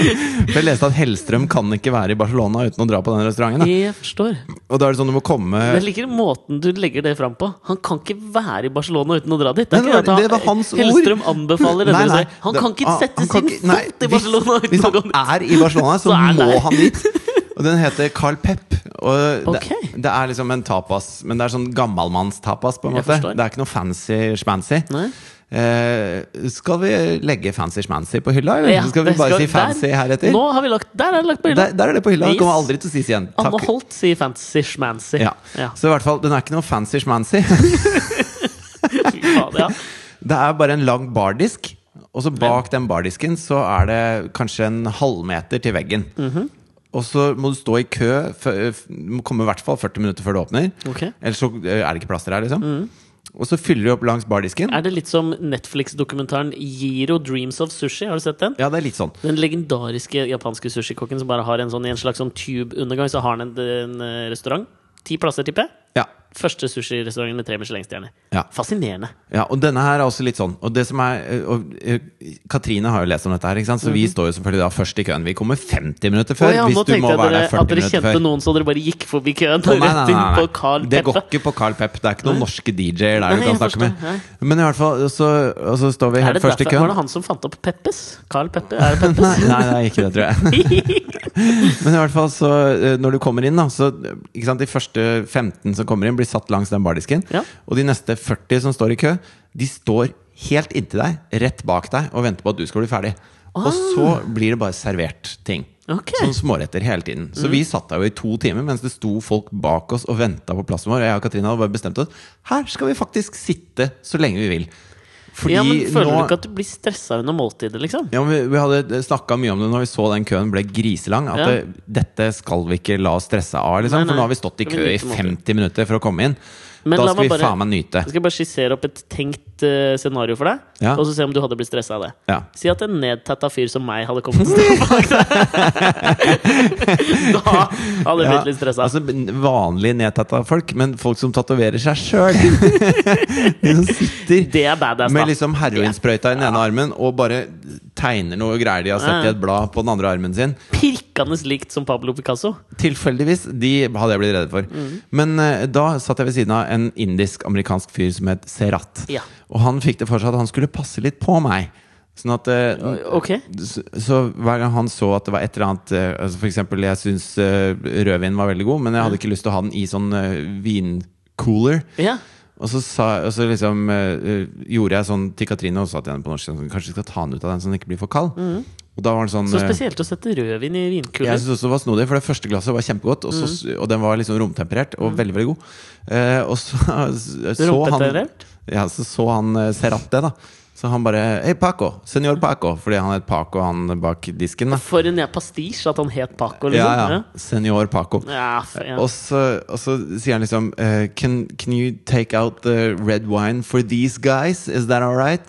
Speaker 1: for jeg leste at Hellstrøm kan ikke være i Barcelona uten å dra på den restauranten. Da.
Speaker 2: Jeg forstår.
Speaker 1: Og da er det sånn du må komme
Speaker 2: Jeg liker måten du legger det fram på. Han kan ikke være i Barcelona uten å dra dit.
Speaker 1: Nei,
Speaker 2: ikke
Speaker 1: det var-
Speaker 2: at han-
Speaker 1: det var hans ord.
Speaker 2: Hellstrøm anbefaler
Speaker 1: Nei,
Speaker 2: denne
Speaker 1: nei,
Speaker 2: seg. Han
Speaker 1: det-
Speaker 2: kan ikke
Speaker 1: han-
Speaker 2: sette
Speaker 1: han kan
Speaker 2: sin
Speaker 1: ikke- nei,
Speaker 2: fot i Barcelona
Speaker 1: hvis,
Speaker 2: uten å gå
Speaker 1: Hvis
Speaker 2: dit.
Speaker 1: han er i Barcelona, så,
Speaker 2: Så er han
Speaker 1: må
Speaker 2: der.
Speaker 1: han dit. Og den heter Carl Pep. Og
Speaker 2: Ok.
Speaker 1: det, det er liksom en tapas, men det er sånn gammalmannstapas, på en
Speaker 2: Jeg
Speaker 1: måte.
Speaker 2: forstår.
Speaker 1: Det er ikke noe fancy schmancy.
Speaker 2: Nei.
Speaker 1: Eh, skal vi legge fancy schmancy på hylla, eller
Speaker 2: Ja,
Speaker 1: skal vi
Speaker 2: det
Speaker 1: bare si
Speaker 2: skal-
Speaker 1: fancy
Speaker 2: der-
Speaker 1: heretter?
Speaker 2: Nå har vi lagt, der er det lagt på hylla.
Speaker 1: Der, der er det på hylla. Det
Speaker 2: Yes.
Speaker 1: kommer aldri til å sies igjen.
Speaker 2: Anne
Speaker 1: Takk.
Speaker 2: Holt sier fancy schmancy.
Speaker 1: Ja.
Speaker 2: Ja.
Speaker 1: Så i hvert fall, den er ikke noe fancy schmancy.
Speaker 2: Fy faen, ja.
Speaker 1: Det er bare en lang bardisk, og så bak den bardisken så er det kanskje en halvmeter til veggen.
Speaker 2: Mhm.
Speaker 1: Og så må du stå i kø, fø- f- må komme i hvert fall 40 minutter før det åpner.
Speaker 2: Ok.
Speaker 1: Ellers så eh, er det ikke plass til deg, liksom. Og så fyller du opp langs bardisken.
Speaker 2: Mhm. Er det litt som Netflix-dokumentaren Giro Dreams of Sushi? Har du sett den?
Speaker 1: Ja, det er litt sånn.
Speaker 2: Den legendariske japanske sushikokken som bare har en sånn i en slags sånn tube-undergang. Så har han en, en eh, restaurant. Ti plasser, tipper jeg.
Speaker 1: Ja.
Speaker 2: Første sushirestauranten med tre Michelin-stjerner.
Speaker 1: Ja.
Speaker 2: Fascinerende.
Speaker 1: ja. Og denne her er også litt sånn. Og det som er eh, og, eh, Katrine har jo lest om dette her, ikke sant? så vi står jo selvfølgelig da først i køen. Vi kommer 50 minutter før,
Speaker 2: Mhm. Å ja, nå
Speaker 1: hvis du
Speaker 2: tenkte
Speaker 1: må
Speaker 2: jeg
Speaker 1: være
Speaker 2: dere,
Speaker 1: der 40
Speaker 2: at dere
Speaker 1: minutter
Speaker 2: kjente
Speaker 1: før.
Speaker 2: noen så dere bare gikk forbi køen.
Speaker 1: Å, nei,
Speaker 2: rett
Speaker 1: nei,
Speaker 2: inn
Speaker 1: nei, nei.
Speaker 2: på Carl
Speaker 1: Det går
Speaker 2: Peppe.
Speaker 1: ikke på Carl Pepp. Det er ikke noen norske DJ-er der
Speaker 2: Nei,
Speaker 1: du kan
Speaker 2: jeg
Speaker 1: snakke med.
Speaker 2: forstår.
Speaker 1: Men i hvert fall, og så, og så står vi
Speaker 2: Er
Speaker 1: helt
Speaker 2: det
Speaker 1: først i
Speaker 2: derfor, var
Speaker 1: køen.
Speaker 2: det han som fant opp Peppes? Carl Peppe? Er det Peppes?
Speaker 1: Nei, nei, det er ikke det, tror jeg. Men i hvert fall, så eh, når du kommer inn, da, så eh, ikke sant, De første 15 som kommer inn, blir satt langs den bardisken.
Speaker 2: Ja.
Speaker 1: Og de neste 40 som står i kø, de står helt inntil deg, rett bak deg, og venter på at du skal bli ferdig. Og så blir det bare servert ting.
Speaker 2: Ah. Ok. Mm.
Speaker 1: Sånn småretter hele tiden. Så vi satt der jo i to timer mens det sto folk bak oss og venta på plassen vår. Og jeg og Katrine hadde bare bestemt oss Her skal vi faktisk sitte så lenge vi vil. Fordi
Speaker 2: ja, men føler
Speaker 1: nå
Speaker 2: du ikke at du blir stressa under måltidet, liksom?
Speaker 1: ja, men vi, vi hadde snakka mye om det når vi så den køen ble griselang. At
Speaker 2: Ja.
Speaker 1: det, dette skal vi ikke la oss stresse av, liksom.
Speaker 2: Nei, nei.
Speaker 1: For nå har vi stått i
Speaker 2: Skal vi
Speaker 1: kø i
Speaker 2: nyte måten?
Speaker 1: 50 minutter for å komme inn.
Speaker 2: Men
Speaker 1: da
Speaker 2: la
Speaker 1: skal vi
Speaker 2: meg bare-
Speaker 1: faen meg nyte.
Speaker 2: Jeg skal bare skissere opp et tenkt eh, scenario for deg,
Speaker 1: Ja.
Speaker 2: og så se om du hadde blitt stressa av det.
Speaker 1: Ja.
Speaker 2: Si at en nedtatta fyr som meg hadde kommet til å stå bak deg. da hadde jeg
Speaker 1: Ja,
Speaker 2: blitt litt stressa.
Speaker 1: altså, vanlig nedtatta folk, men folk som tatoverer seg sjøl. De som sitter
Speaker 2: det er badass, da.
Speaker 1: med liksom heroinsprøyta i den ene armen og bare tegner noe greier de har sett i et blad på den andre armen sin.
Speaker 2: Pirkende likt som Pablo Picasso.
Speaker 1: Tilfeldigvis. De hadde jeg blitt redd for.
Speaker 2: Mm.
Speaker 1: Men eh, da satt jeg ved siden av en indisk-amerikansk fyr som het Serat.
Speaker 2: Ja.
Speaker 1: Og han fikk det for seg at han skulle passe litt på meg. Sånn at eh,
Speaker 2: Ok.
Speaker 1: så, så hver gang han så at det var et eller annet eh, altså For eksempel, jeg syns rødvin var veldig god, men jeg hadde ikke lyst til å ha den i sånn eh, vincooler.
Speaker 2: Ja.
Speaker 1: Og så, sa, og så liksom eh, eh, gjorde jeg sånn til Katrine også, at jeg på norsk sånn, Kanskje vi skal ta den ut av den så den ikke blir for kald? Og da var han sånn
Speaker 2: Mm. Så
Speaker 1: eh,
Speaker 2: spesielt å sette rødvin i
Speaker 1: jeg
Speaker 2: vinkuler.
Speaker 1: synes også det var snodig, for det første glasset var kjempegodt. Og,
Speaker 2: Mm.
Speaker 1: så, og den var liksom romtemperert og veldig veldig god. Eh, og så så han,
Speaker 2: Romtemperert?
Speaker 1: ja, så så han eh, Serrat det, da. Så han bare Hei, Paco! Senor Paco! Fordi han het Paco, han bak disken. da
Speaker 2: For en ja, pastisj at han het Paco,
Speaker 1: Ja,
Speaker 2: liksom.
Speaker 1: ja. Senor Paco.
Speaker 2: ja. ja, f- ja.
Speaker 1: Og så, og så sier han liksom eh, can, can you take out the red wine for these guys? Is that all right?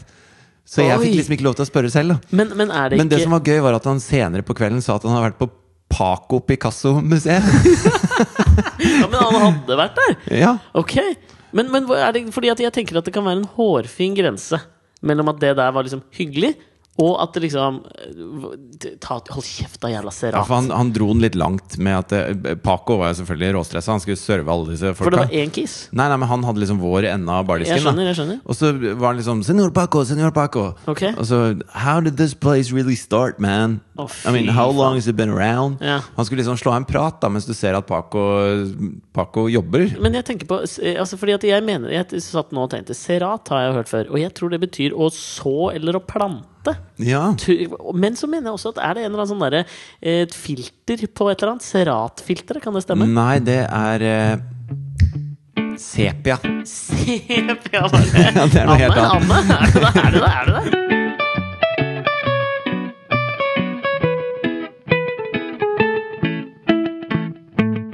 Speaker 1: Så jeg
Speaker 2: Oi.
Speaker 1: fikk liksom ikke lov til å spørre selv. da
Speaker 2: Men, men er det
Speaker 1: men det
Speaker 2: ikke
Speaker 1: som var gøy, var at han senere på kvelden sa at han hadde vært på Paco Picasso-museet.
Speaker 2: Ja, men han hadde vært der!
Speaker 1: ja.
Speaker 2: Ok, men, men hva er det fordi at jeg tenker at det kan være en hårfin grense mellom at det der var liksom hyggelig, og at det liksom eh, ta, Hold kjeft, da, jævla
Speaker 1: Ja,
Speaker 2: serat.
Speaker 1: for han, han dro den litt langt med at eh, Paco var jo selvfølgelig råstressa. Han skulle serve alle disse
Speaker 2: For det
Speaker 1: folka.
Speaker 2: var én kiss.
Speaker 1: Nei, nei, men han hadde liksom vår ende av bardisken.
Speaker 2: Jeg skjønner,
Speaker 1: da.
Speaker 2: jeg skjønner.
Speaker 1: Og så var han liksom Senor Paco, senor Paco.
Speaker 2: Ok.
Speaker 1: Og så How did this place really start, man?
Speaker 2: Å, fy
Speaker 1: I mean, how
Speaker 2: faen.
Speaker 1: long has it been around?
Speaker 2: Ja.
Speaker 1: Han skulle liksom slå av en prat da mens du ser at Paco, Paco jobber.
Speaker 2: Men jeg tenker på s- eh, altså Fordi at jeg mener Jeg satt nå og tenkte Serat har jeg hørt før. Og jeg tror det betyr å så eller å plante.
Speaker 1: Ja.
Speaker 2: Tu- Men så mener jeg også at er det en eller annen sånn derre eh, et filter på et eller annet? Serat-filteret, kan det stemme?
Speaker 1: Nei, det er eh, sepia.
Speaker 2: Sepia, var det.
Speaker 1: Ja, det er noe helt
Speaker 2: Anne,
Speaker 1: annet.
Speaker 2: Anne, er du der? Er du der? Er du der?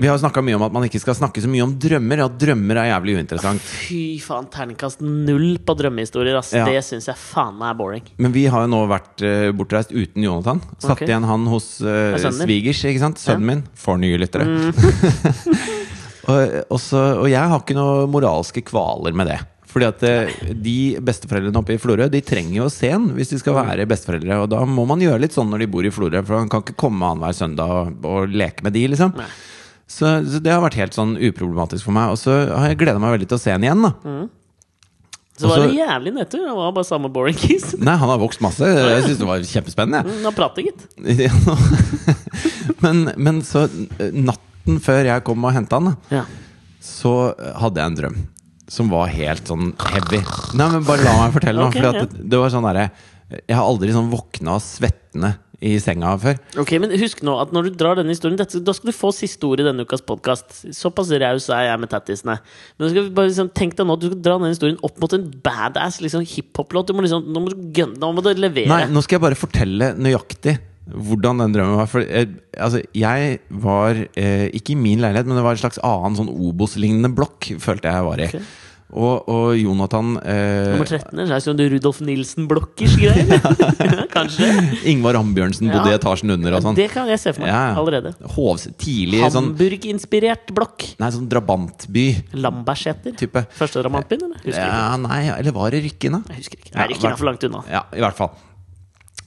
Speaker 1: Vi har snakka mye om at man ikke skal snakke så mye om drømmer. og At drømmer er jævlig uinteressant.
Speaker 2: Fy faen, terningkast null på drømmehistorier. Ass.
Speaker 1: Ja.
Speaker 2: Det syns jeg faen meg er boring.
Speaker 1: Men vi har jo nå vært eh, bortreist uten Jonathan. Satt
Speaker 2: Ok.
Speaker 1: igjen han hos eh,
Speaker 2: Det er sønnen din.
Speaker 1: svigers, ikke sant? Sønnen min. For nye lyttere.
Speaker 2: Mm.
Speaker 1: og, og, så, og jeg har ikke noe moralske kvaler med det. Fordi at eh, de besteforeldrene oppe i Florø De trenger jo å se en hvis de skal være besteforeldre. Og da må man gjøre litt sånn når de bor i Florø, for han kan ikke komme annenhver søndag og, og leke med de, liksom.
Speaker 2: Nei.
Speaker 1: Så, så det har vært helt sånn uproblematisk for meg. Og så har jeg gleda meg veldig til å se en igjen, da.
Speaker 2: Så var
Speaker 1: Altså-
Speaker 2: det jævlig nedtur. Det var bare samme boring kis.
Speaker 1: Nei, han har vokst masse. Jeg syns det var kjempespennende. jeg.
Speaker 2: Mm, Han prater, gitt.
Speaker 1: Ja. men, men så eh, natten før jeg kom og henta han, da,
Speaker 2: Ja.
Speaker 1: så eh, hadde jeg en drøm. Som var helt sånn heavy. Nei, men bare la meg fortelle nå.
Speaker 2: Ok,
Speaker 1: fordi
Speaker 2: ja.
Speaker 1: at det, det var sånn derre Jeg har aldri sånn våkna svettende i senga før.
Speaker 2: Ok, men husk nå at når du drar denne historien dette, Da skal du få siste ord i denne ukas podkast. Såpass raus er jeg med tattisene. Men du skal bare liksom, tenk deg nå at du skal dra denne historien opp mot en badass liksom, hiphop-låt. Du må liksom, Nå må du gønne, nå må du levere.
Speaker 1: Nei, nå skal jeg bare fortelle nøyaktig hvordan den drømmen var. For eh, altså, jeg var eh, ikke i min leilighet, men det var en slags annen sånn Obos-lignende blokk, følte jeg jeg var i.
Speaker 2: Ok.
Speaker 1: Og, og Jonathan eh,
Speaker 2: Nummer 13 er sånn du Rudolf Nilsen-blokkers greier. Kanskje.
Speaker 1: Ingvar Ambjørnsen bodde
Speaker 2: Ja.
Speaker 1: i etasjen under og sånn.
Speaker 2: Det kan jeg se for meg
Speaker 1: Ja, ja.
Speaker 2: allerede.
Speaker 1: Hovs, tidlig sånn,
Speaker 2: Hamburg-inspirert blokk.
Speaker 1: nei, sånn drabantby
Speaker 2: Lambertseter.
Speaker 1: type.
Speaker 2: Første ramantbyen, eller? Husker ikke.
Speaker 1: Ja, nei, eller var det Rykken, da?
Speaker 2: Jeg husker ikke.
Speaker 1: Ja,
Speaker 2: Nei, ikke
Speaker 1: hvert-
Speaker 2: for langt unna.
Speaker 1: Ja, i hvert fall.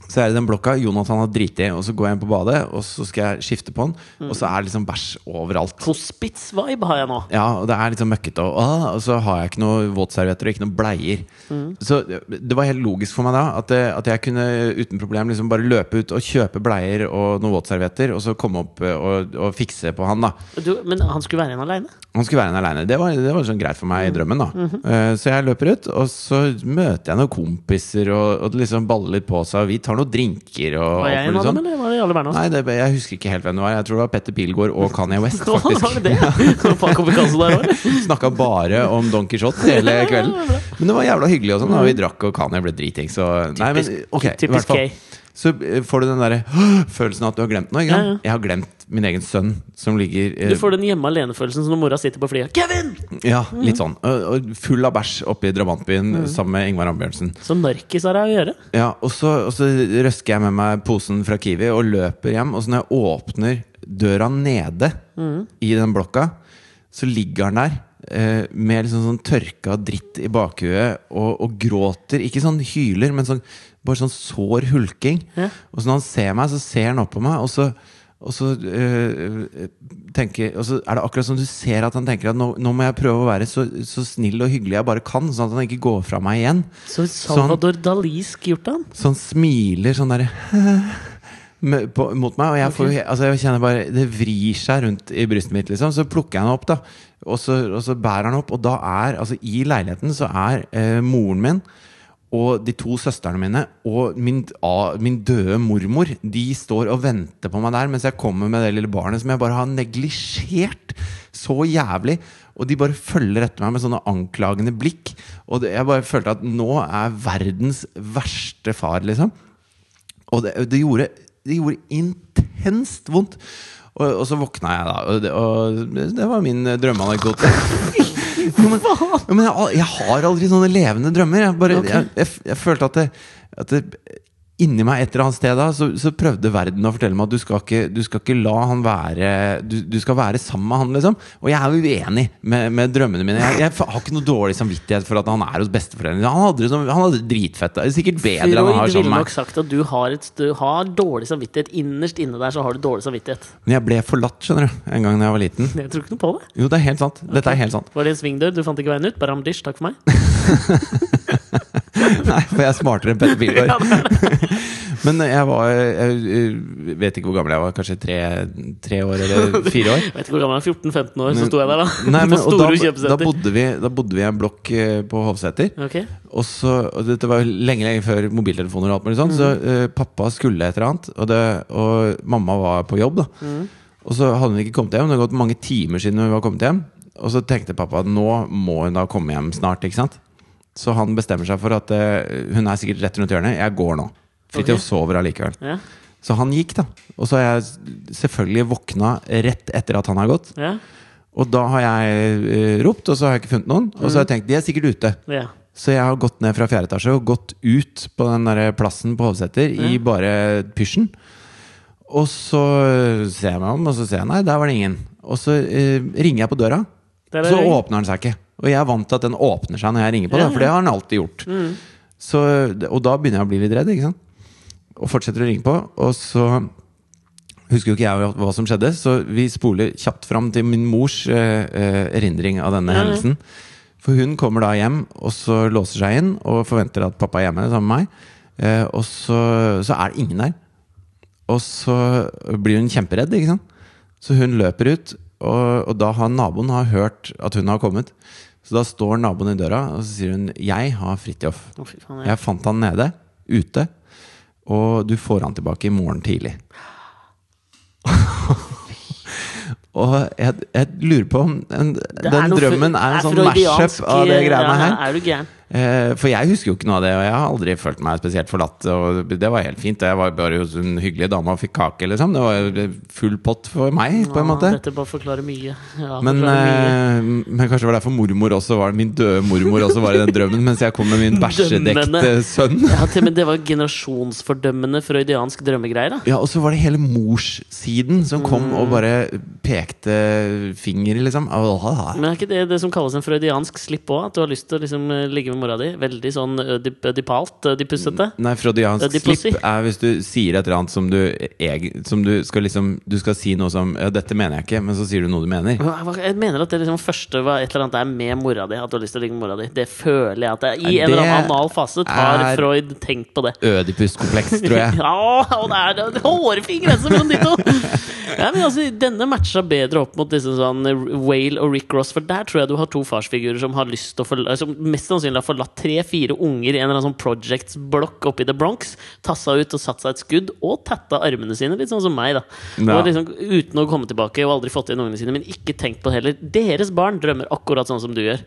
Speaker 1: Så er det den blokka Jonathan har driti i, og så går jeg inn på badet, og så skal jeg skifte på den,
Speaker 2: Mm.
Speaker 1: og så er det liksom bæsj overalt.
Speaker 2: Hospits-vibe har jeg nå.
Speaker 1: Ja, og det er liksom møkkete, og, ah, og så har jeg ikke noe våtservietter og ikke noen bleier.
Speaker 2: Mm.
Speaker 1: Så det det var helt logisk for meg da at, eh, at jeg kunne uten problem liksom bare løpe ut og kjøpe bleier og noen våtservietter, og så komme opp eh, og, og fikse på han, da.
Speaker 2: Du, men han skulle være igjen aleine?
Speaker 1: Han skulle være igjen aleine. Det var, det var sånn greit for meg i drømmen. da Eh, Så jeg løper ut, og så møter jeg noen kompiser, og, og det liksom baller litt på seg. Og vi tar noen drinker og
Speaker 2: Var
Speaker 1: alt
Speaker 2: jeg en
Speaker 1: mulig
Speaker 2: av dem,
Speaker 1: sånn.
Speaker 2: eller var det Jarle Bernhoft?
Speaker 1: Nei, det, jeg husker ikke helt hvem det var. Jeg tror det var Petter Pilgaard og Kanye West.
Speaker 2: Nå var
Speaker 1: faktisk
Speaker 2: det det! Paco Picasso der også.
Speaker 1: Snakka bare om Don Quijote hele kvelden. Men det var jævla hyggelig, og sånn da. og vi drakk, og Kanye ble driting. Så nei, men
Speaker 2: Mm. Typisk-
Speaker 1: ok. i
Speaker 2: typisk
Speaker 1: hvert fall.
Speaker 2: gay.
Speaker 1: Så eh, får du den derre følelsen av at du har glemt noe. Ikke sant?
Speaker 2: Ja, ja.
Speaker 1: Jeg har glemt min egen sønn som ligger eh,
Speaker 2: Du får den hjemme alene-følelsen som når mora sitter på flyet. Kevin!
Speaker 1: Ja, litt sånn. Og- og Full av bæsj oppe i drabantbyen sammen med Ingvar Ambjørnsen.
Speaker 2: Så narkis har jeg å gjøre.
Speaker 1: Ja, og så, og så røsker jeg med meg posen fra Kiwi og løper hjem. Og så når jeg åpner døra nede i den blokka, så ligger han der. eh, Med liksom sånn tørka dritt i bakhuet og, og gråter. Ikke sånn hyler, men sånn, bare sånn sår hulking.
Speaker 2: Ja.
Speaker 1: Og så når han ser meg, så ser han opp på meg, og så, og så, øh, øh, tenker, og så er det akkurat som du ser at han tenker at nå, nå må jeg prøve å være så, så snill og hyggelig jeg bare kan, sånn at han ikke går fra meg igjen.
Speaker 2: Så
Speaker 1: Sånn.
Speaker 2: Salvador Dalisk gjort han.
Speaker 1: Så han smiler sånn der med- på- mot meg, og jeg, får, jo he- altså jeg kjenner bare Det vrir seg rundt i brystet mitt, liksom. Så plukker jeg han opp, da. Og så, og så bærer han opp, og da er altså I leiligheten så er eh, moren min og de to søstrene mine og min, a- min døde mormor De står og venter på meg der mens jeg kommer med det lille barnet som jeg bare har neglisjert så jævlig. Og de bare følger etter meg med sånne anklagende blikk. Og det, jeg bare følte at nå er verdens verste far, liksom. Og det, det, gjorde, det gjorde intenst vondt. Og, og så våkna jeg, da. Og det, og det var min eh, drømmeanekdote. Jo, men, jo, men jeg, al- jeg har aldri sånne levende drømmer. Jeg, bare,
Speaker 2: Ok.
Speaker 1: jeg, jeg, f- jeg følte at det, at det Inni meg et eller annet sted da så, så prøvde verden å fortelle meg at du skal ikke, du skal ikke la han være du, du skal være sammen med han, liksom. Og jeg er jo uenig med, med drømmene mine. Jeg, jeg har ikke noe dårlig samvittighet for at han er hos besteforeldrene. Han hadde det som- han hadde det dritfett. Det er sikkert bedre enn han
Speaker 2: Freud
Speaker 1: har
Speaker 2: ville
Speaker 1: sammen med meg.
Speaker 2: nok sagt at du har, et, du har dårlig samvittighet. Innerst inne der så har du dårlig samvittighet.
Speaker 1: Men jeg ble forlatt, skjønner du, en gang da jeg var liten.
Speaker 2: Jeg tror ikke noe på det.
Speaker 1: Jo, det er helt sant. Dette er helt sant.
Speaker 2: Var det en svingdør? Du fant ikke veien ut? Baramdish, takk for meg.
Speaker 1: Nei, for jeg er smartere enn Petter Pilgaard.
Speaker 2: Ja, det er det.
Speaker 1: Men jeg var jeg, jeg vet ikke hvor gammel jeg var, kanskje tre, tre år eller fire år.
Speaker 2: Jeg vet ikke hvor gammel jeg er, 14-15 år, så sto jeg der, da.
Speaker 1: Nei, men,
Speaker 2: på
Speaker 1: og da,
Speaker 2: store
Speaker 1: da,
Speaker 2: kjøpesenter.
Speaker 1: bodde vi, da bodde vi i en blokk eh, på Hovseter.
Speaker 2: Ok.
Speaker 1: Og så, og dette var jo lenge lenge før mobiltelefoner og alt mulig sånt, så eh, pappa skulle et eller annet, og, det, og mamma var på jobb. da
Speaker 2: Mm,
Speaker 1: Og så hadde hun ikke kommet hjem. Det hadde gått mange timer siden hun var kommet hjem. Og så tenkte pappa at nå må hun da komme hjem snart. ikke sant? Så han bestemmer seg for at eh, hun er sikkert rett rundt hjørnet. Jeg går nå. Fridtjof
Speaker 2: Ok.
Speaker 1: sover allikevel.
Speaker 2: Ja.
Speaker 1: Så han gikk, da. Og så har jeg s- selvfølgelig våkna rett etter at han har gått.
Speaker 2: Ja.
Speaker 1: Og da har jeg eh, ropt, og så har jeg ikke funnet noen. Og så har jeg tenkt de er sikkert ute.
Speaker 2: ja.
Speaker 1: Så jeg har gått ned fra fjerde etasje og gått ut på den der plassen på Hovseter i bare pysjen. Og så ser jeg meg om, og så ser jeg nei, der var det ingen. Og så eh, ringer jeg på døra,
Speaker 2: Der er
Speaker 1: så
Speaker 2: det ingen.
Speaker 1: åpner den seg ikke. Og jeg er vant til at den åpner seg når jeg ringer på,
Speaker 2: Ja, Mm.
Speaker 1: da, for det har den alltid gjort. Så, og da begynner jeg å bli litt redd, ikke sant? Og fortsetter å ringe på, og så husker jo ikke jeg hva som skjedde, så vi spoler kjapt fram til min mors eh, eh, erindring av denne
Speaker 2: Ja, ja.
Speaker 1: hendelsen. For hun kommer da hjem, og så låser seg inn og forventer at pappa er hjemme sammen med meg. Eh, og så, så er det ingen der. Og så blir hun kjemperedd, ikke sant? Så hun løper ut, og, og da har naboen har hørt at hun har kommet. Så da står naboen i døra, og så sier hun 'Jeg har Fridtjof'.
Speaker 2: Å, fy faen. Ja.
Speaker 1: Jeg fant han nede, ute, og du får han tilbake i morgen tidlig. og jeg, jeg lurer på om en,
Speaker 2: Det er
Speaker 1: den
Speaker 2: noe
Speaker 1: drømmen er en
Speaker 2: fre-
Speaker 1: sånn mashup
Speaker 2: freudiansk,
Speaker 1: av det greiene
Speaker 2: ja,
Speaker 1: her.
Speaker 2: Er du gæren?
Speaker 1: Eh, For jeg husker jo ikke noe av det, og jeg har aldri følt meg spesielt forlatt. Og det var helt fint. og Jeg var bare hos en hyggelig dame og fikk kake, liksom. Det var jo full pott for meg, på en
Speaker 2: Ja,
Speaker 1: måte.
Speaker 2: Dette bare forklarer mye. Ja,
Speaker 1: Men,
Speaker 2: forklarer mye.
Speaker 1: eh, men kanskje det var derfor mormor også var min døde mormor også var i den drømmen, mens jeg kom med min bæsjedekte
Speaker 2: Dømmende.
Speaker 1: sønn.
Speaker 2: Ja, til, men det var generasjonsfordømmende freudiansk drømmegreier, da.
Speaker 1: Ja, og så var det hele morssiden som
Speaker 2: Mm.
Speaker 1: kom og bare pekte finger, liksom. Åh,
Speaker 2: Men er ikke det det som kalles en freudiansk slipp òg? At du har lyst til å liksom eh, ligge med mora di? Veldig sånn ødip- ødipalt, ødipussete?
Speaker 1: Nei, freudiansk
Speaker 2: Ødiposi.
Speaker 1: slipp er hvis du sier et eller annet som du, eg- som du skal liksom Du skal si noe som Ja, dette mener jeg ikke, men så sier du noe du mener.
Speaker 2: Men hva- Jeg mener at det liksom første var et eller annet der med mora di. At du har lyst til å ligge med mora di. Det føler jeg at det er. I
Speaker 1: Nei,
Speaker 2: en eller annen
Speaker 1: det
Speaker 2: anal fase tar
Speaker 1: er-
Speaker 2: Freud tenkt på det.
Speaker 1: Ødipuskompleks, tror jeg.
Speaker 2: Ja, og det er en hårfin grense mellom de to! Ja, men altså, denne matcha bedre opp mot disse sånn Whale og Rick Ross, for der tror jeg du har to farsfigurer som har lyst til å forla- Som mest sannsynlig har forlatt tre-fire unger i en eller annen sånn Projects-blokk oppe i The Bronx, tassa ut og satt seg et skudd, og tatta armene sine, litt sånn som meg, da.
Speaker 1: Ja.
Speaker 2: Og liksom, uten å komme tilbake, og aldri fått inn ungene sine, men ikke tenkt på det heller. Deres barn drømmer akkurat sånn som du gjør.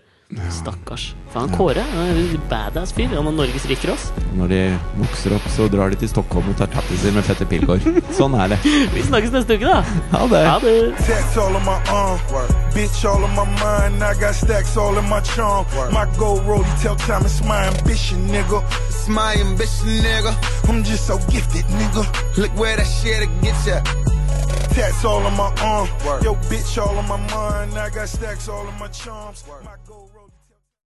Speaker 2: Stakkars. Faen, Kåre. Han er en badass fyr. Han er Norges Rick Ross.
Speaker 1: Når de vokser opp, så drar de til Stockholm og tar tattiser med Petter Pilgaard. Sånn er det.
Speaker 2: Vi snakkes neste uke, da!
Speaker 1: Ha det.
Speaker 2: Ha det!
Speaker 3: Tats all on my arm, bitch all on my mind. I got stacks all in my charm. My gold rollie tell time it's my ambition, nigga.
Speaker 4: It's my ambition, nigga.
Speaker 3: I'm just so gifted, nigga.
Speaker 4: Look where that shit'll get ya.
Speaker 3: Tats all on my arm, yo bitch all on my mind. I got stacks all in my charms. My gold rollie-